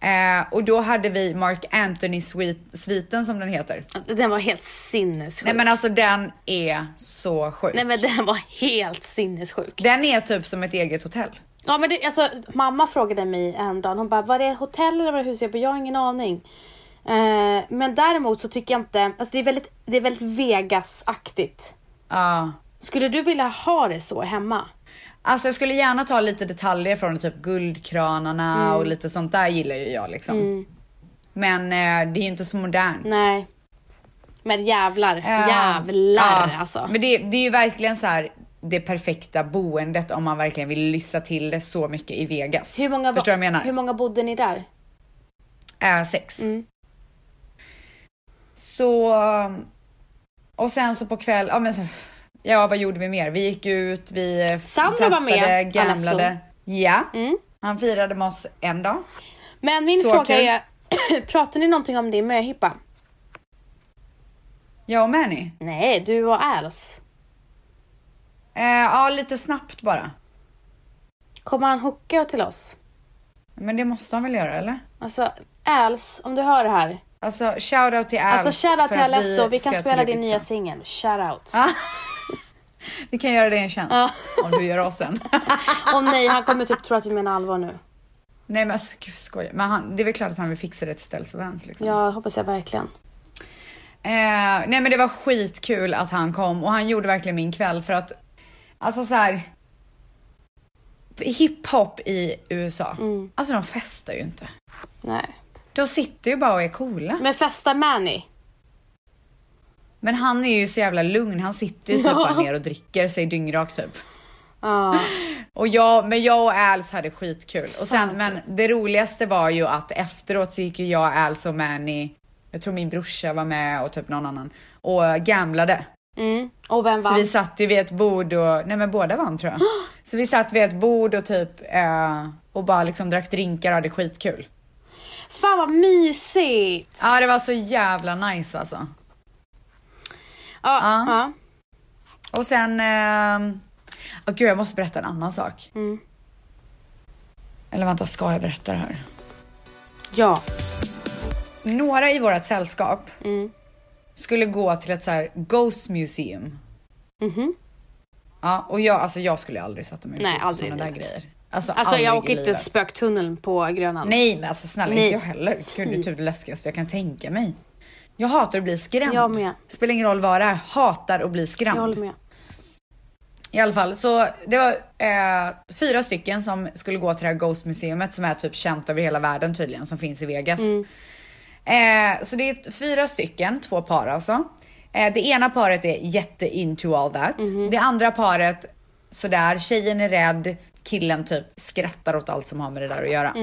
Speaker 2: Eh, och då hade vi Mark Anthony-sviten som den heter.
Speaker 1: Den var helt sinnessjuk.
Speaker 2: Nej men alltså den är så sjuk.
Speaker 1: Nej men den var helt sinnessjuk.
Speaker 2: Den är typ som ett eget hotell.
Speaker 1: Ja men det, alltså, mamma frågade mig häromdagen, hon bara var det hotell eller var det hus? Jag bara, jag har ingen aning. Eh, men däremot så tycker jag inte, alltså det är väldigt, det är väldigt Vegas-aktigt.
Speaker 2: Ja.
Speaker 1: Skulle du vilja ha det så hemma?
Speaker 2: Alltså jag skulle gärna ta lite detaljer från typ guldkranarna
Speaker 1: Mm.
Speaker 2: och lite sånt där gillar ju jag liksom. Men eh, det är ju inte så modernt.
Speaker 1: Nej. Men jävlar,
Speaker 2: Ja.
Speaker 1: jävlar
Speaker 2: Ja.
Speaker 1: alltså.
Speaker 2: Men det, det är ju verkligen så här det perfekta boendet om man verkligen vill lyssa till det så mycket i Vegas.
Speaker 1: Hur många,
Speaker 2: Förstår du vad jag
Speaker 1: hur
Speaker 2: menar?
Speaker 1: många bodde ni där?
Speaker 2: Eh, sex.
Speaker 1: Mm.
Speaker 2: Så... Och sen så på kväll, ja men ja vad gjorde vi mer? Vi gick ut, vi
Speaker 1: Sandra var med, alltså.
Speaker 2: festade,
Speaker 1: Alasso.
Speaker 2: gamlade. Ja,
Speaker 1: Mm.
Speaker 2: han firade med oss en dag.
Speaker 1: Men min
Speaker 2: Så
Speaker 1: fråga
Speaker 2: kul.
Speaker 1: är, pratar ni någonting om din möhippa?
Speaker 2: Jag och Mani.
Speaker 1: Nej, du och Als.
Speaker 2: Eh, ja, lite snabbt bara.
Speaker 1: Kommer han hooka till oss?
Speaker 2: Men det måste han väl göra eller?
Speaker 1: Alltså, Als, om du hör det här.
Speaker 2: Alltså shoutout till Als.
Speaker 1: Alltså shoutout
Speaker 2: för
Speaker 1: till
Speaker 2: att
Speaker 1: Alesso, vi, kan
Speaker 2: ska
Speaker 1: spela
Speaker 2: till
Speaker 1: din nya
Speaker 2: Ibiza. Ah.
Speaker 1: singel. Shoutout.
Speaker 2: Vi kan göra dig en tjänst.
Speaker 1: Ja.
Speaker 2: Om du gör oss en.
Speaker 1: Åh nej, han kommer typ tro att vi menar allvar nu.
Speaker 2: Nej men alltså gud skojar. Men han, det är väl klart att han vill fixa det till Ställs och Vans liksom.
Speaker 1: Ja, hoppas jag verkligen.
Speaker 2: Eh, nej men det var skitkul att han kom och han gjorde verkligen min kväll för att Alltså så här. Hiphop i USA.
Speaker 1: Mm.
Speaker 2: Alltså de festar ju inte.
Speaker 1: Nej.
Speaker 2: De sitter ju bara och är coola.
Speaker 1: Men festa Manny.
Speaker 2: Men han är ju så jävla lugn. Han sitter ju typ bara ner och dricker sig dyngrak typ.
Speaker 1: Ja.
Speaker 2: Och jag, men jag och Als hade skitkul. Och sen, men det roligaste var ju att efteråt så gick ju jag, Als och Manny, jag tror min brorsa var med och typ någon annan, och gamlade.
Speaker 1: Mm. Och vem
Speaker 2: Så
Speaker 1: vann?
Speaker 2: vi satt ju vid ett bord och, nej men båda vann tror jag. Så vi satt vid ett bord och typ, eh, och bara liksom drack drinkar och hade skitkul.
Speaker 1: Fan vad mysigt!
Speaker 2: Ja det var så jävla nice alltså.
Speaker 1: Ja.
Speaker 2: Ja.
Speaker 1: ja.
Speaker 2: Och sen, eh, åh gud jag måste berätta en annan sak.
Speaker 1: Mm.
Speaker 2: Eller vänta, ska jag berätta det här?
Speaker 1: ja.
Speaker 2: några i vårt sällskap
Speaker 1: Mm.
Speaker 2: skulle gå till ett så här Ghost Museum. Ja, och jag, alltså jag skulle aldrig sätta mig
Speaker 1: Mm-hmm. Nej,
Speaker 2: på
Speaker 1: aldrig i
Speaker 2: sådana där
Speaker 1: livet.
Speaker 2: grejer. Alltså,
Speaker 1: Alltså
Speaker 2: aldrig
Speaker 1: jag
Speaker 2: i
Speaker 1: åker inte
Speaker 2: livet.
Speaker 1: spöktunneln på Grönan.
Speaker 2: Nej, men alltså snälla,
Speaker 1: Nej.
Speaker 2: inte jag heller. Gud, det är typ det läskigaste jag kan tänka mig. Jag hatar att bli skrämd.
Speaker 1: Jag med.
Speaker 2: Spelar ingen roll vad det är, hatar att bli skrämd.
Speaker 1: Jag håller med.
Speaker 2: I alla fall, så det var eh, fyra stycken som skulle gå till det här Ghost Museumet som är typ känt över hela världen tydligen, som finns i Vegas. Eh, så det är fyra stycken, två par alltså. Eh, det ena paret är jätte into all that. Det andra paret, sådär, tjejen är rädd, killen typ skrattar åt allt som har med det där att göra.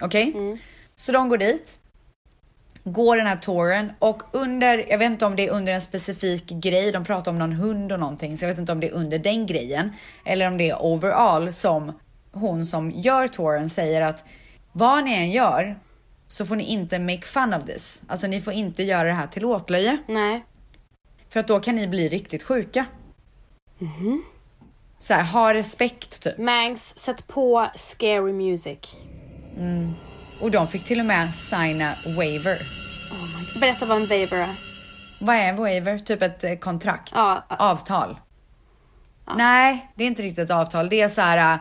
Speaker 2: Okej? Så de går dit går den här touren och under, jag vet inte om det är under en specifik grej, de pratar om någon hund och någonting, så jag vet inte om det är under den grejen eller om det är overall som hon som gör touren säger att vad ni än gör så får ni inte make fun of this. Alltså ni får inte göra det här till åtlöje
Speaker 1: Nej.
Speaker 2: för att då kan ni bli riktigt sjuka. Så här, ha respekt typ.
Speaker 1: Mangs, sätt på scary music.
Speaker 2: Och de fick till och med signa waiver.
Speaker 1: Oh my God. Berätta vad en waiver är.
Speaker 2: Vad är en waiver? Typ ett eh, kontrakt?
Speaker 1: Ja.
Speaker 2: Avtal? Nej, det är inte riktigt ett avtal. Det är så här. eh,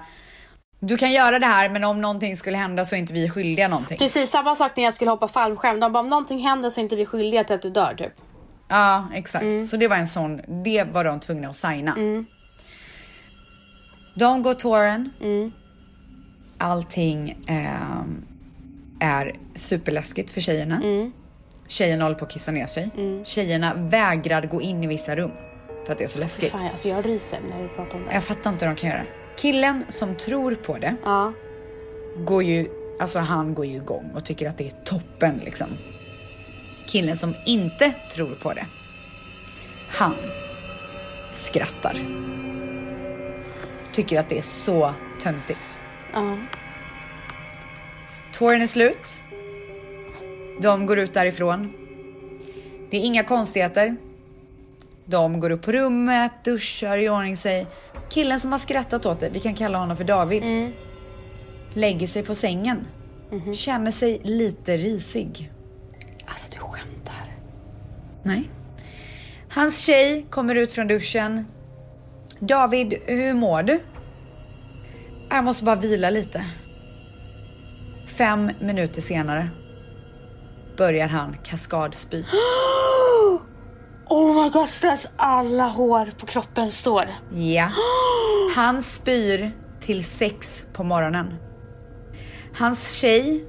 Speaker 2: Du kan göra det här men om någonting skulle hända så är inte vi
Speaker 1: Mm.
Speaker 2: skyldiga någonting.
Speaker 1: Precis samma sak när jag skulle hoppa fallskärm. De bara om någonting händer så är inte vi skyldiga till att du dör typ.
Speaker 2: Ja, exakt.
Speaker 1: Mm.
Speaker 2: Så det var en sån, det var de tvungna att signa. De går touren.
Speaker 1: Mm.
Speaker 2: Allting ehm, är superläskigt för tjejerna.
Speaker 1: Mm.
Speaker 2: Tjejerna håller på att kissa ner sig. Tjejerna vägrar gå in i vissa rum för att det är så läskigt.
Speaker 1: Fan, alltså jag ryser när du pratar om det.
Speaker 2: Jag fattar inte hur de kan göra det. Killen som tror på det
Speaker 1: Ja.
Speaker 2: går ju, alltså han går ju igång och tycker att det är toppen liksom. Killen som inte tror på det, han skrattar. Tycker att det är så töntigt.
Speaker 1: Ja.
Speaker 2: Touren är slut. De går ut därifrån. Det är inga konstigheter. De går upp på rummet, duschar, i ordning sig. Killen som har skrattat åt det, vi kan kalla honom för David. Lägger sig på sängen. Känner sig lite risig.
Speaker 1: Alltså du skämtar.
Speaker 2: Nej. Hans tjej kommer ut från duschen. David, hur mår du? Jag måste bara vila lite. Fem minuter senare börjar han kaskadspy.
Speaker 1: Oh my god, stress. Alla hår på kroppen står.
Speaker 2: Ja. Han spyr till sex på morgonen. Hans tjej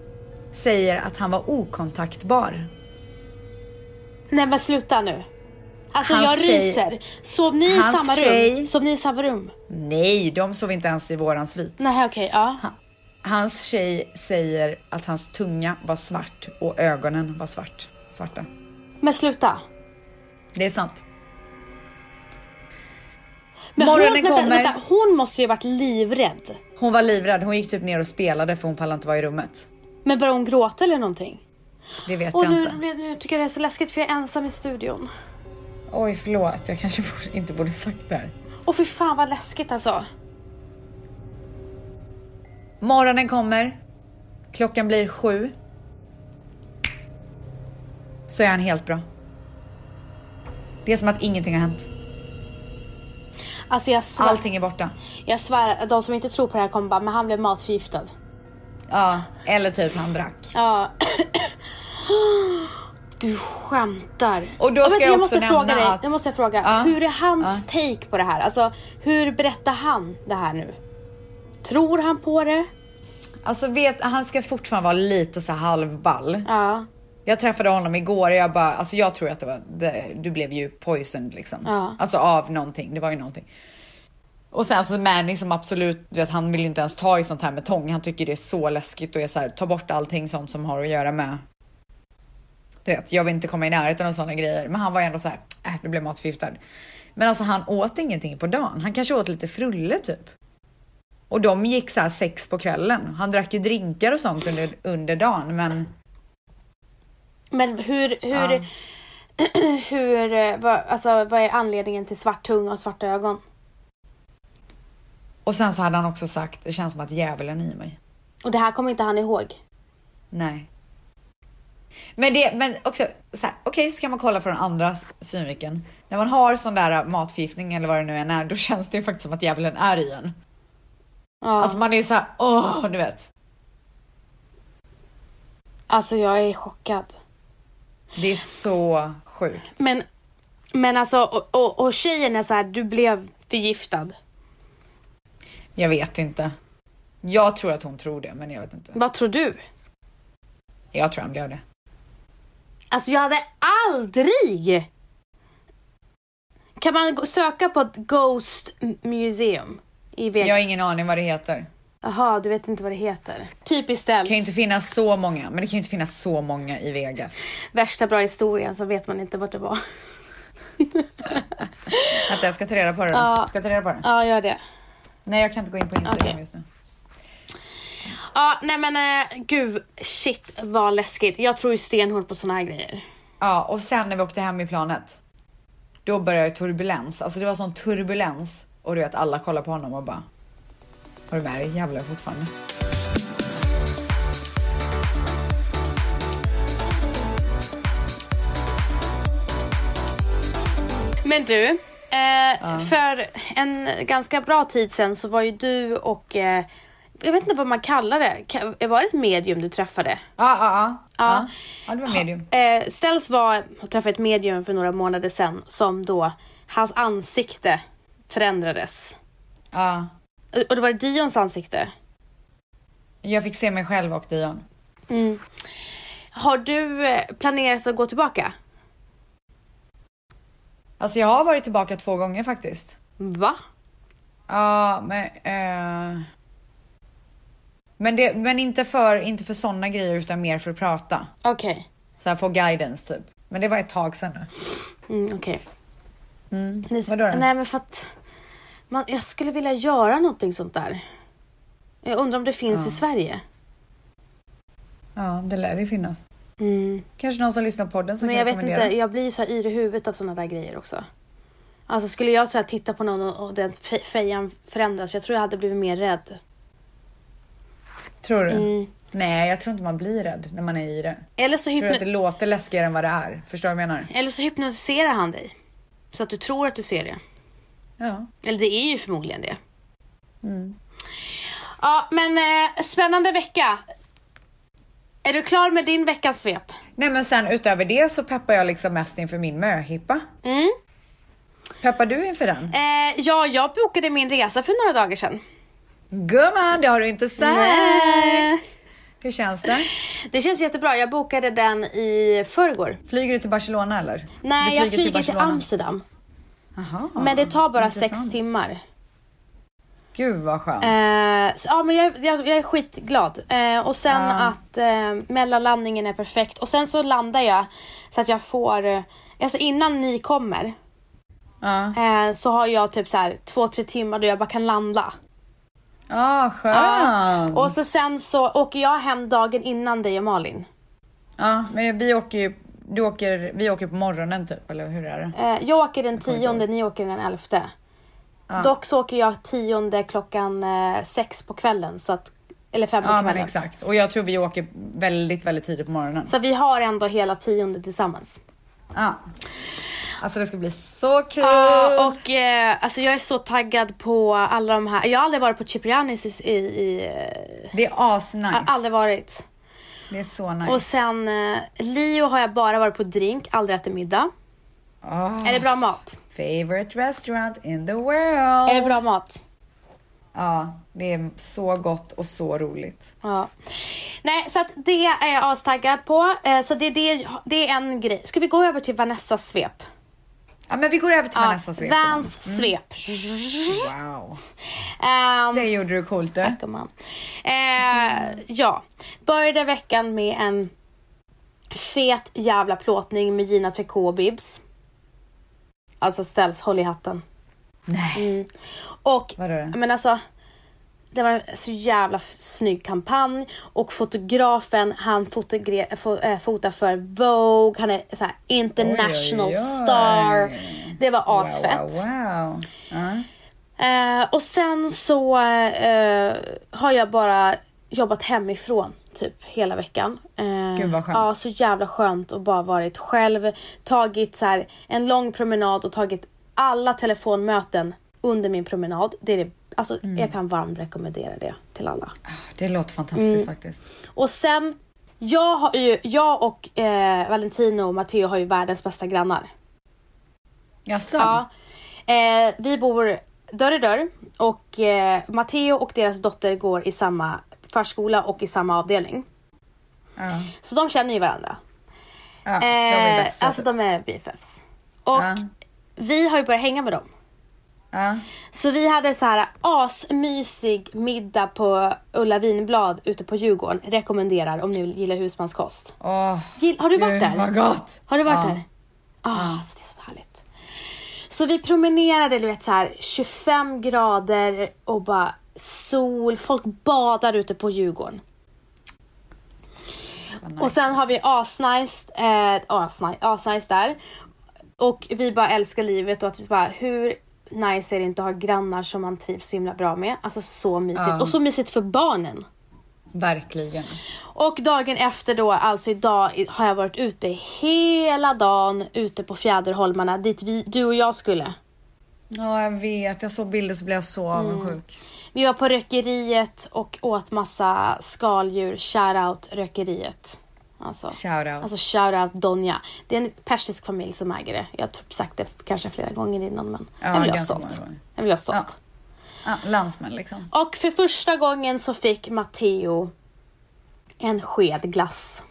Speaker 2: säger att han var okontaktbar.
Speaker 1: Nej men sluta nu. Alltså
Speaker 2: Hans
Speaker 1: jag
Speaker 2: tjej-
Speaker 1: ryser. Sov ni i
Speaker 2: Hans
Speaker 1: samma
Speaker 2: tjej-
Speaker 1: rum? Sov ni i samma rum?
Speaker 2: Nej, de sov inte ens i våran svit.
Speaker 1: Nej okej, ja.
Speaker 2: Hans tjej säger att hans tunga var svart och ögonen var svart. svarta.
Speaker 1: Men sluta.
Speaker 2: Det är sant.
Speaker 1: Men
Speaker 2: Morgonen
Speaker 1: hon, vänta,
Speaker 2: kommer.
Speaker 1: Vänta, hon måste ju varit livrädd.
Speaker 2: Hon var livrädd. Hon gick typ ner och spelade för hon pallade inte vara i rummet.
Speaker 1: Men började hon gråta eller någonting?
Speaker 2: Det vet
Speaker 1: Och
Speaker 2: jag
Speaker 1: nu,
Speaker 2: inte.
Speaker 1: blev- nu tycker jag det är så läskigt för jag är ensam i studion.
Speaker 2: Oj, förlåt. Jag kanske borde- inte borde sagt det här.
Speaker 1: Och för fan vad läskigt alltså.
Speaker 2: Morgonen kommer. Klockan blir sju. Så är han helt bra. Det är som att ingenting har hänt.
Speaker 1: Alltså jag svär,
Speaker 2: Allting är borta.
Speaker 1: jag svär att de som inte tror på det här kommer bara, men han blev matförgiftad.
Speaker 2: Ja, eller typ han drack.
Speaker 1: Ja. Du skämtar.
Speaker 2: Och då
Speaker 1: Ja,
Speaker 2: ska
Speaker 1: vänta,
Speaker 2: jag också
Speaker 1: måste
Speaker 2: nämna
Speaker 1: fråga dig,
Speaker 2: att-
Speaker 1: Jag måste fråga.
Speaker 2: Ja.
Speaker 1: Hur är hans take på det här? Alltså, hur berättar han det här nu? Tror han på det?
Speaker 2: Alltså vet, han ska fortfarande vara lite så här halvball.
Speaker 1: Ja.
Speaker 2: Jag träffade honom igår och jag bara, alltså jag tror att det var, det, du blev ju poisoned liksom.
Speaker 1: Ja.
Speaker 2: Alltså av någonting, det var ju någonting. Och sen så Manny som absolut, du vet han vill ju inte ens ta i sånt här med tång. Han tycker det är så läskigt och är så här, ta bort allting sånt som har att göra med. Du vet, jag vill inte komma i närheten av sådana grejer. Men han var ju ändå så här, äh, du blev matförgiftad. Men alltså han åt ingenting på dagen. Han kanske åt lite frulle typ. Och de gick så här sex på kvällen. Han drack ju drinkar och sånt under, under dagen men
Speaker 1: Men hur, hur, hur, eh, vad, alltså, vad är anledningen till svart tunga och svarta ögon?
Speaker 2: Och sen så hade han också sagt, det känns som att djävulen är i mig.
Speaker 1: Och det här kommer inte han ihåg.
Speaker 2: Nej. Men, det, men också så här, okej så kan man kolla från andra s- synvinkeln. När man har sån där matförgiftning eller vad det nu än är, då känns det ju faktiskt som att djävulen är i en.
Speaker 1: Ja.
Speaker 2: Alltså
Speaker 1: Alltså,
Speaker 2: man är ju så här, åh, du vet. Alltså,
Speaker 1: jag är chockad.
Speaker 2: Det är så sjukt.
Speaker 1: Men, men alltså, och, och, och tjejen är så här, du blev förgiftad.
Speaker 2: Jag vet inte. Jag tror att hon tror det, men jag vet inte.
Speaker 1: Vad tror du?
Speaker 2: Jag tror han blev det.
Speaker 1: Alltså jag hade aldrig... Kan man gå- söka på ett Ghost Museum i
Speaker 2: Jag har
Speaker 1: Vegas?
Speaker 2: ingen aning vad det heter.
Speaker 1: Jaha, du vet inte vad det heter. Typiskt
Speaker 2: Det
Speaker 1: ställs.
Speaker 2: kan ju inte finnas så många, men det kan ju inte finnas så många i Vegas.
Speaker 1: Värsta bra historien så vet man inte vart det var.
Speaker 2: Vänta, jag ska ta reda på det.
Speaker 1: Ja.
Speaker 2: då. Ska jag ta reda på det?
Speaker 1: Ja, gör det.
Speaker 2: Nej, jag kan inte gå in på Instagram
Speaker 1: Okej.
Speaker 2: just nu.
Speaker 1: Ja, nej men eh, gud, shit vad läskigt. Jag tror ju stenhårt på såna här grejer.
Speaker 2: Ja, och sen när vi åkte hem i planet. Då började turbulens. Alltså det var sån turbulens. Och du vet, alla kollar på honom och bara... Har du med dig djävulen fortfarande?
Speaker 1: Men du, eh, för en ganska bra tid sen så var ju du och eh, jag vet inte vad man kallar det. Ka- Var det ett medium du träffade?
Speaker 2: Ja, ja, ja.
Speaker 1: Ja.
Speaker 2: Ja, ja det var medium.
Speaker 1: Eh, Ställs var, träffade ett medium för några månader sedan som då, hans ansikte förändrades.
Speaker 2: Ja.
Speaker 1: Och- Och då var det Dions ansikte.
Speaker 2: Jag fick se mig själv och Dion.
Speaker 1: Har du eh, planerat att gå tillbaka?
Speaker 2: Alltså jag har varit tillbaka två gånger faktiskt.
Speaker 1: Va?
Speaker 2: Ja, men... Eh... Men, det, men inte för, inte för sådana grejer utan mer för att prata.
Speaker 1: Okej.
Speaker 2: Så här få guidance typ. Men det var ett tag sedan nu. Mm.
Speaker 1: Mm, okej. Ni-
Speaker 2: vadå då?
Speaker 1: Nej men för att man, jag skulle vilja göra någonting sånt där. Jag undrar om det finns i Sverige.
Speaker 2: Ja, det lär ju finnas.
Speaker 1: Mm.
Speaker 2: Kanske någon som lyssnar på podden som
Speaker 1: Men
Speaker 2: kan
Speaker 1: jag vet
Speaker 2: rekommendera.
Speaker 1: inte, jag blir ju så här yr i huvudet av såna där grejer också. Alltså skulle jag så här titta på någon och och den fe- fejan förändras, jag tror jag hade blivit mer rädd.
Speaker 2: Tror du?
Speaker 1: Mm.
Speaker 2: Nej, jag tror inte man blir rädd när man är i det.
Speaker 1: Eller så,
Speaker 2: Jag tror att det
Speaker 1: hypno-
Speaker 2: låter läskigare än vad det är. Förstår du vad jag menar?
Speaker 1: eller så hypnotiserar han dig. Så att du tror att du ser det.
Speaker 2: Ja.
Speaker 1: Eller det är ju förmodligen det.
Speaker 2: Mm.
Speaker 1: Ja men eh, spännande vecka. Är du klar med din veckans svep?
Speaker 2: Nej men sen utöver det så peppar jag liksom mest inför min möhippa.
Speaker 1: Mm.
Speaker 2: Peppar du inför den?
Speaker 1: Eh, ja, jag bokade min resa för några dagar sedan.
Speaker 2: Gumman, det har du inte sagt! Hur känns det?
Speaker 1: Eh, Det känns jättebra. Jag bokade den i förrgår.
Speaker 2: Flyger du till Barcelona eller?
Speaker 1: Nej,
Speaker 2: du
Speaker 1: jag flyger till, Amsterdam.
Speaker 2: Aha,
Speaker 1: men det tar bara sex
Speaker 2: intressant.
Speaker 1: timmar.
Speaker 2: Gud vad skönt.
Speaker 1: Eh, så, ja, men jag, jag, jag är skitglad. Eh, och sen att eh, mellanlandningen är perfekt. Och sen så landar jag så att jag får... Eh, alltså innan ni kommer
Speaker 2: Ja,
Speaker 1: eh, så har jag typ så här två, tre timmar då jag bara kan landa. Eh,
Speaker 2: ah, skönt.
Speaker 1: Och så sen så åker jag hem dagen innan dig och Malin.
Speaker 2: Ja, men vi åker ju, du åker, vi åker på morgonen typ, eller hur är det?
Speaker 1: Eh, jag åker den tionde, ni åker den elfte.
Speaker 2: Ah.
Speaker 1: Dock så åker jag tionde klockan eh, sex på kvällen. Så att, eller fem på
Speaker 2: Ja, men
Speaker 1: kvällen.
Speaker 2: exakt. Och jag tror vi åker väldigt, väldigt tidigt på morgonen.
Speaker 1: Så vi har ändå hela tionde tillsammans.
Speaker 2: Ja. Alltså det ska bli så kul!
Speaker 1: Ja, och eh, alltså jag är så taggad på alla de här. Jag har aldrig varit på Ciprianis i... i, i eh,
Speaker 2: Det är asnice.
Speaker 1: jag har aldrig varit.
Speaker 2: Det är så nice.
Speaker 1: Och sen eh, Leo har jag bara varit på drink, aldrig ätit middag.
Speaker 2: Ah,
Speaker 1: Är det bra mat?
Speaker 2: favorite restaurant in the world!
Speaker 1: Är det bra mat?
Speaker 2: Ja, det är så gott och så roligt.
Speaker 1: Ja. Nej, så att det är jag astaggad på. Eh, Så det, är det, det är en grej. Ska vi gå över till Vanessas svep?
Speaker 2: Ja, men vi går över till
Speaker 1: Ja,
Speaker 2: Vanessas svep.
Speaker 1: Vans svep.
Speaker 2: Wow.
Speaker 1: Ehm,
Speaker 2: Det gjorde du coolt du.
Speaker 1: gumman. Eh, ja, började veckan med en fet jävla plåtning med Gina Tricot och Bibs. Alltså ställs, håll i hatten. Mm.
Speaker 2: Nej.
Speaker 1: Och,
Speaker 2: Vad är det?
Speaker 1: men alltså, det var en så jävla f- snygg kampanj och fotografen han fotogre- fo- eh, fotar för Vogue, han är så här international
Speaker 2: Oj, oj, oj.
Speaker 1: star. Det var asfett.
Speaker 2: Wow, wow, wow. Ja.
Speaker 1: Eh, och sen så eh, har jag bara jobbat hemifrån typ hela veckan. Eh,
Speaker 2: Gud, vad skönt.
Speaker 1: Ja, så jävla skönt och bara varit själv. Tagit så här, en lång promenad och tagit alla telefonmöten under min promenad. Det är det, alltså,
Speaker 2: Mm.
Speaker 1: Jag kan varmt rekommendera det till alla.
Speaker 2: Det låter fantastiskt
Speaker 1: Mm.
Speaker 2: faktiskt.
Speaker 1: Och sen, jag, har ju, jag och eh, Valentino och Matteo har ju världens bästa grannar.
Speaker 2: Jaså?
Speaker 1: Ja. Eh, vi bor dörr i dörr och eh, Matteo och deras dotter går i samma förskola och i samma avdelning.
Speaker 2: Ja.
Speaker 1: Så de känner ju varandra.
Speaker 2: Ja, jag var ju
Speaker 1: Eh,
Speaker 2: bäst.
Speaker 1: alltså de är BFFs. Och
Speaker 2: typ. Ja.
Speaker 1: vi har ju börjat hänga med dem.
Speaker 2: Ja.
Speaker 1: Så vi hade så här asmysig middag på Ulla Vinblad ute på Djurgården. Rekommenderar om ni vill gilla husmanskost.
Speaker 2: Åh,
Speaker 1: Gill- har du varit där?
Speaker 2: Gud vad gott!
Speaker 1: Har du varit
Speaker 2: Ja.
Speaker 1: där? Ah, alltså det är så härligt. Så vi promenerade, du vet så här 25 grader och bara sol, folk badar ute på Djurgården.
Speaker 2: Vad
Speaker 1: Och sen har vi asnice, eh, asnice, asnice där. Och vi bara älskar livet och att vi bara, hur nice är det inte att ha grannar som man trivs så himla bra med. Alltså så mysigt.
Speaker 2: Ja.
Speaker 1: Och så mysigt för barnen.
Speaker 2: Verkligen.
Speaker 1: Och dagen efter då, alltså idag i- har jag varit ute hela dagen ute på Fjäderholmarna dit vi, du och jag skulle. Mm.
Speaker 2: Ja, jag vet. Jag såg bilder så blev jag så avundsjuk.
Speaker 1: Vi var på rökeriet och åt massa skaldjur. Shoutout rökeriet. Alltså,
Speaker 2: Shoutout.
Speaker 1: Alltså shoutout Donja. Det är en persisk familj som äger det. Jag har typ sagt det kanske flera gånger innan men
Speaker 2: Ja,
Speaker 1: jag vill ha
Speaker 2: ganska
Speaker 1: stolt.
Speaker 2: många gånger.
Speaker 1: Jag vill ha stolt.
Speaker 2: Ja. Ja, landsmän liksom.
Speaker 1: Och för första gången så fick Matteo en sked glass.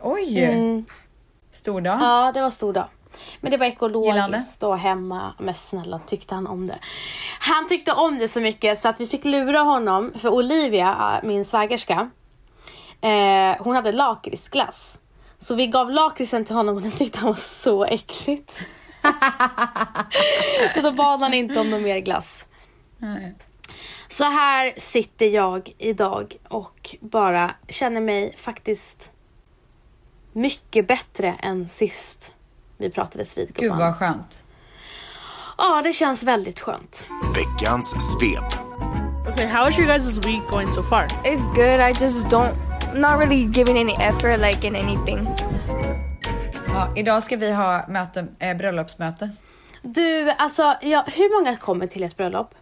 Speaker 2: Oj! Mm. Stor dag.
Speaker 1: Ja, det var stor dag. Men det var
Speaker 2: Gillar han det?
Speaker 1: ekologiskt och hemma. Men snälla, tyckte han om det? Han tyckte om det så mycket så att vi fick lura honom, för Olivia, äh, min svägerska, eh, hon hade lakritsglass. Så vi gav lakritsen till honom och den tyckte han var så äckligt. så då bad han inte om någon mer glass.
Speaker 2: Nej.
Speaker 1: Så här sitter jag idag och bara känner mig faktiskt mycket bättre än sist vi pratades vid
Speaker 2: Gud
Speaker 1: gumman.
Speaker 2: vad skönt.
Speaker 1: Ja, det känns väldigt skönt.
Speaker 3: Veckans svep.
Speaker 4: Okay, how is your guys' week going so far?
Speaker 5: It's good. I just don't not really giving any effort like in anything.
Speaker 2: Ja, idag ska vi ha möte, eh, bröllopsmöte.
Speaker 1: Du, alltså ja, hur många kommer till ett bröllop?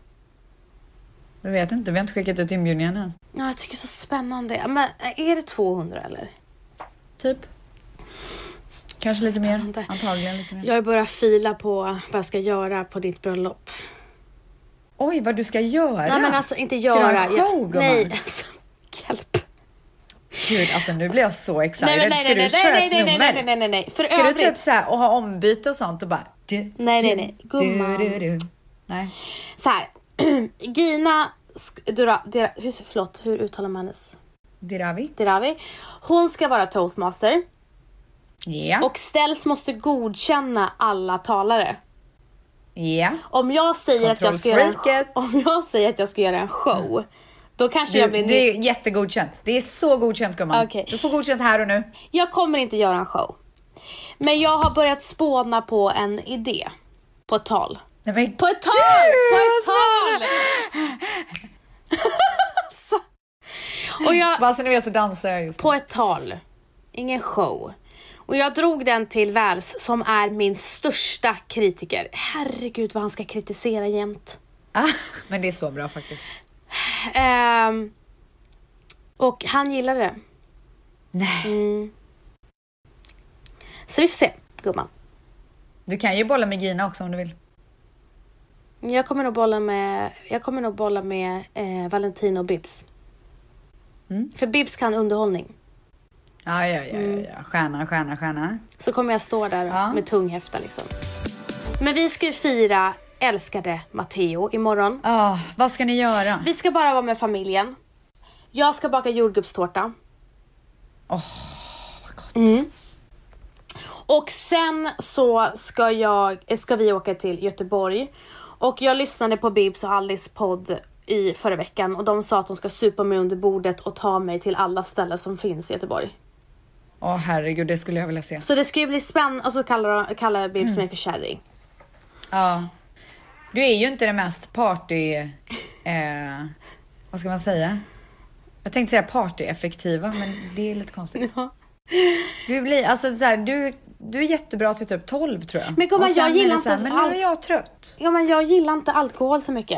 Speaker 2: Jag vet inte, vi har inte skickat ut inbjudningen än.
Speaker 1: Ja, jag tycker det är så spännande. Men eh, är det 200 eller?
Speaker 2: Typ. Kanske lite
Speaker 1: Spännande.
Speaker 2: mer. Antagligen lite mer.
Speaker 1: Jag har börjat fila på vad jag ska göra på ditt bröllop.
Speaker 2: Oj, vad du ska göra!
Speaker 1: Nej men alltså inte
Speaker 2: Ska du ha
Speaker 1: göra.
Speaker 2: en show,
Speaker 1: jag,
Speaker 2: gumman?
Speaker 1: nej, alltså hjälp.
Speaker 2: Gud, alltså nu blir jag så excited.
Speaker 1: Nej, men
Speaker 2: ska du köra ett
Speaker 1: nej, nej,
Speaker 2: nummer?
Speaker 1: nej, nej, nej, nej, nej. För
Speaker 2: Ska du
Speaker 1: övrigt.
Speaker 2: typ så här och ha ombyte och sånt och bara... Du,
Speaker 1: Nej,
Speaker 2: du,
Speaker 1: nej, nej.
Speaker 2: du,
Speaker 1: Gumman.
Speaker 2: du, du. Nej.
Speaker 1: Så här. Gina, sk- Dura, Dira, hur, förlåt, hur uttalar man hennes?
Speaker 2: Diravi?
Speaker 1: Dirawi. Hon ska vara toastmaster
Speaker 2: Ja.
Speaker 1: och Ställs måste godkänna alla talare.
Speaker 2: Ja.
Speaker 1: Om jag säger att jag ska göra en show,
Speaker 2: Kontrollfreaket.
Speaker 1: om jag säger att jag ska göra en show, då kanske
Speaker 2: Du,
Speaker 1: jag blir
Speaker 2: det
Speaker 1: ny.
Speaker 2: är jättegodkänt. Det är så godkänt gumman.
Speaker 1: Okej.
Speaker 2: Du får godkänt här och nu.
Speaker 1: Jag kommer inte göra en show. Men jag har börjat spåna på en idé. På ett tal.
Speaker 2: Nej, men...
Speaker 1: På ett tal!
Speaker 2: Gud,
Speaker 1: På ett
Speaker 2: vad
Speaker 1: tal! Och jag,
Speaker 2: Bara så ni vet så dansar jag just nu.
Speaker 1: på ett tal. Ingen show. Och jag drog den till Väls som är min största kritiker. Herregud vad han ska kritisera jämt.
Speaker 2: Ah, men det är så bra faktiskt.
Speaker 1: Ehm, och han gillade det. Mm.
Speaker 2: Nej.
Speaker 1: Så vi får se, gumman.
Speaker 2: Du kan ju bolla med Gina också om du vill.
Speaker 1: Jag kommer nog bolla med, jag kommer nog bolla med eh, Valentino och Bibs. För Bibs kan underhållning.
Speaker 2: Ja, ja, ja,
Speaker 1: Mm.
Speaker 2: ja, ja. Stjärna, stjärna, stjärna.
Speaker 1: Så kommer jag stå där
Speaker 2: Ja.
Speaker 1: med tung häfta liksom. Men vi ska ju fira älskade Matteo imorgon.
Speaker 2: Ah, vad ska ni göra?
Speaker 1: Vi ska bara vara med familjen. Jag ska baka jordgubbstårta. Mm.
Speaker 2: Vad gott.
Speaker 1: Och sen så ska, jag, ska vi åka till Göteborg. Och jag lyssnade på Bibs och Alice podd i förra veckan och de sa att de ska supa mig under bordet och ta mig till alla ställen som finns i Göteborg.
Speaker 2: Åh herregud, det skulle jag vilja se.
Speaker 1: Så det ska ju bli spännande och så kallar, kallar
Speaker 2: Mm.
Speaker 1: Bibs mig för kärring.
Speaker 2: Ja. Du är ju inte den mest party... Eh, vad ska man säga? Jag tänkte säga partyeffektiva, men det är lite konstigt.
Speaker 1: Ja.
Speaker 2: Du blir, alltså så här, du, du är jättebra till typ 12 tror jag.
Speaker 1: Men gumman,
Speaker 2: Och sen
Speaker 1: jag gillar
Speaker 2: är det så här,
Speaker 1: inte
Speaker 2: Men
Speaker 1: ens
Speaker 2: nu
Speaker 1: allt.
Speaker 2: är jag trött.
Speaker 1: Ja men jag gillar inte alkohol så mycket.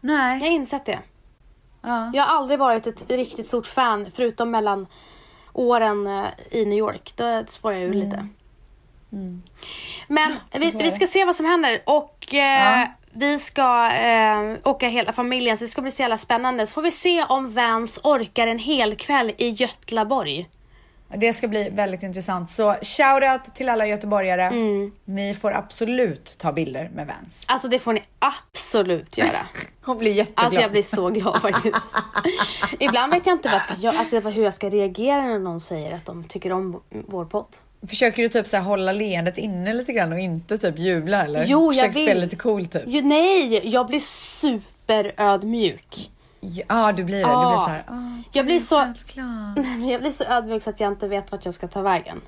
Speaker 1: Jag
Speaker 2: Nej.
Speaker 1: har insett det.
Speaker 2: Ja.
Speaker 1: Jag har aldrig varit ett riktigt stort fan förutom mellan åren eh, i New York. Då spårade jag ur lite. Men vi, vi ska se vad som händer och eh,
Speaker 2: Ja.
Speaker 1: vi ska eh, åka hela familjen så det ska bli så jävla spännande. Så får vi se om Vans orkar en hel kväll i Götlaborg.
Speaker 2: Det ska bli väldigt intressant. Så shoutout till alla göteborgare.
Speaker 1: Mm.
Speaker 2: Ni får absolut ta bilder med Vans.
Speaker 1: Alltså det får ni absolut göra.
Speaker 2: Hon blir jätteglad.
Speaker 1: Alltså jag blir så glad faktiskt. Ibland vet jag inte vad jag ska göra, alltså hur jag ska reagera när någon säger att de tycker om vår podd.
Speaker 2: Försöker du typ så här hålla leendet inne lite grann och inte typ jubla eller?
Speaker 1: Jo, jag
Speaker 2: Försöker spela
Speaker 1: vill.
Speaker 2: lite cool typ?
Speaker 1: Jo, nej, jag blir superödmjuk.
Speaker 2: Ja, du blir det. Du blir så här, "Ah,
Speaker 1: Jag blir så,
Speaker 2: självklart."
Speaker 1: jag blir så ödmjuk så att jag inte vet vart jag ska ta vägen.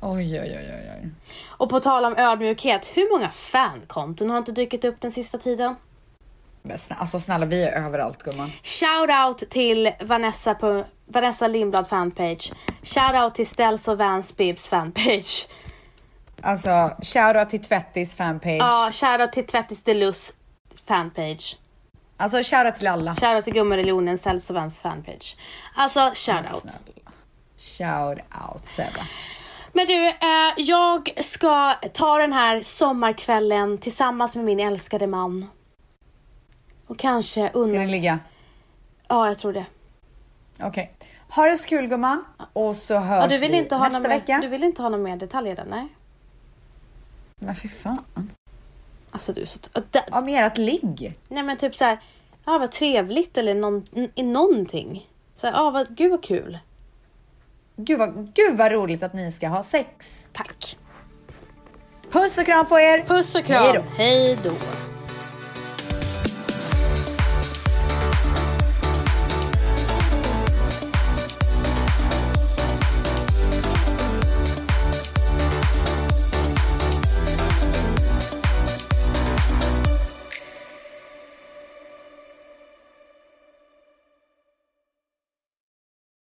Speaker 2: Oj, oj, oj, oj, oj.
Speaker 1: Och på tal om ödmjukhet, hur många fankonton har inte dykt upp den sista tiden?
Speaker 2: Men sna- alltså snälla, vi är överallt gumman.
Speaker 1: Shout out till Vanessa, på, Vanessa Lindblad fanpage. Shout out till Ställs och Vans Bibs fanpage.
Speaker 2: Alltså, shoutout till Tvättis fanpage.
Speaker 1: Ja, shout out till Tvättis Deluxe fanpage.
Speaker 2: Alltså kära till alla.
Speaker 1: Shoutout till Gummireligionens hälsovärns fanpage. Alltså shoutout.
Speaker 2: Shout out Sebbe.
Speaker 1: Men du, eh, jag ska ta den här sommarkvällen tillsammans med min älskade man. Och kanske
Speaker 2: Ska
Speaker 1: unna...
Speaker 2: ni ligga?
Speaker 1: Ja, jag tror det.
Speaker 2: Okej. Ha det så kul gumman. Och så hörs
Speaker 1: Ja, du, vill
Speaker 2: vi
Speaker 1: inte ha
Speaker 2: nästa
Speaker 1: någon mer,
Speaker 2: vecka.
Speaker 1: du vill inte ha någon mer detaljer där, nej?
Speaker 2: Men fy fan.
Speaker 1: Alltså du är så... t- d-
Speaker 2: Ja, med ert ligg.
Speaker 1: Nej men typ så här, ja vad trevligt eller någon, n- i någonting. Så här, ja vad, gud vad kul.
Speaker 2: Gud vad, gud vad roligt att ni ska ha sex.
Speaker 1: Tack.
Speaker 2: Puss och kram på er.
Speaker 1: Puss och kram.
Speaker 2: Hej då.
Speaker 1: Hej då.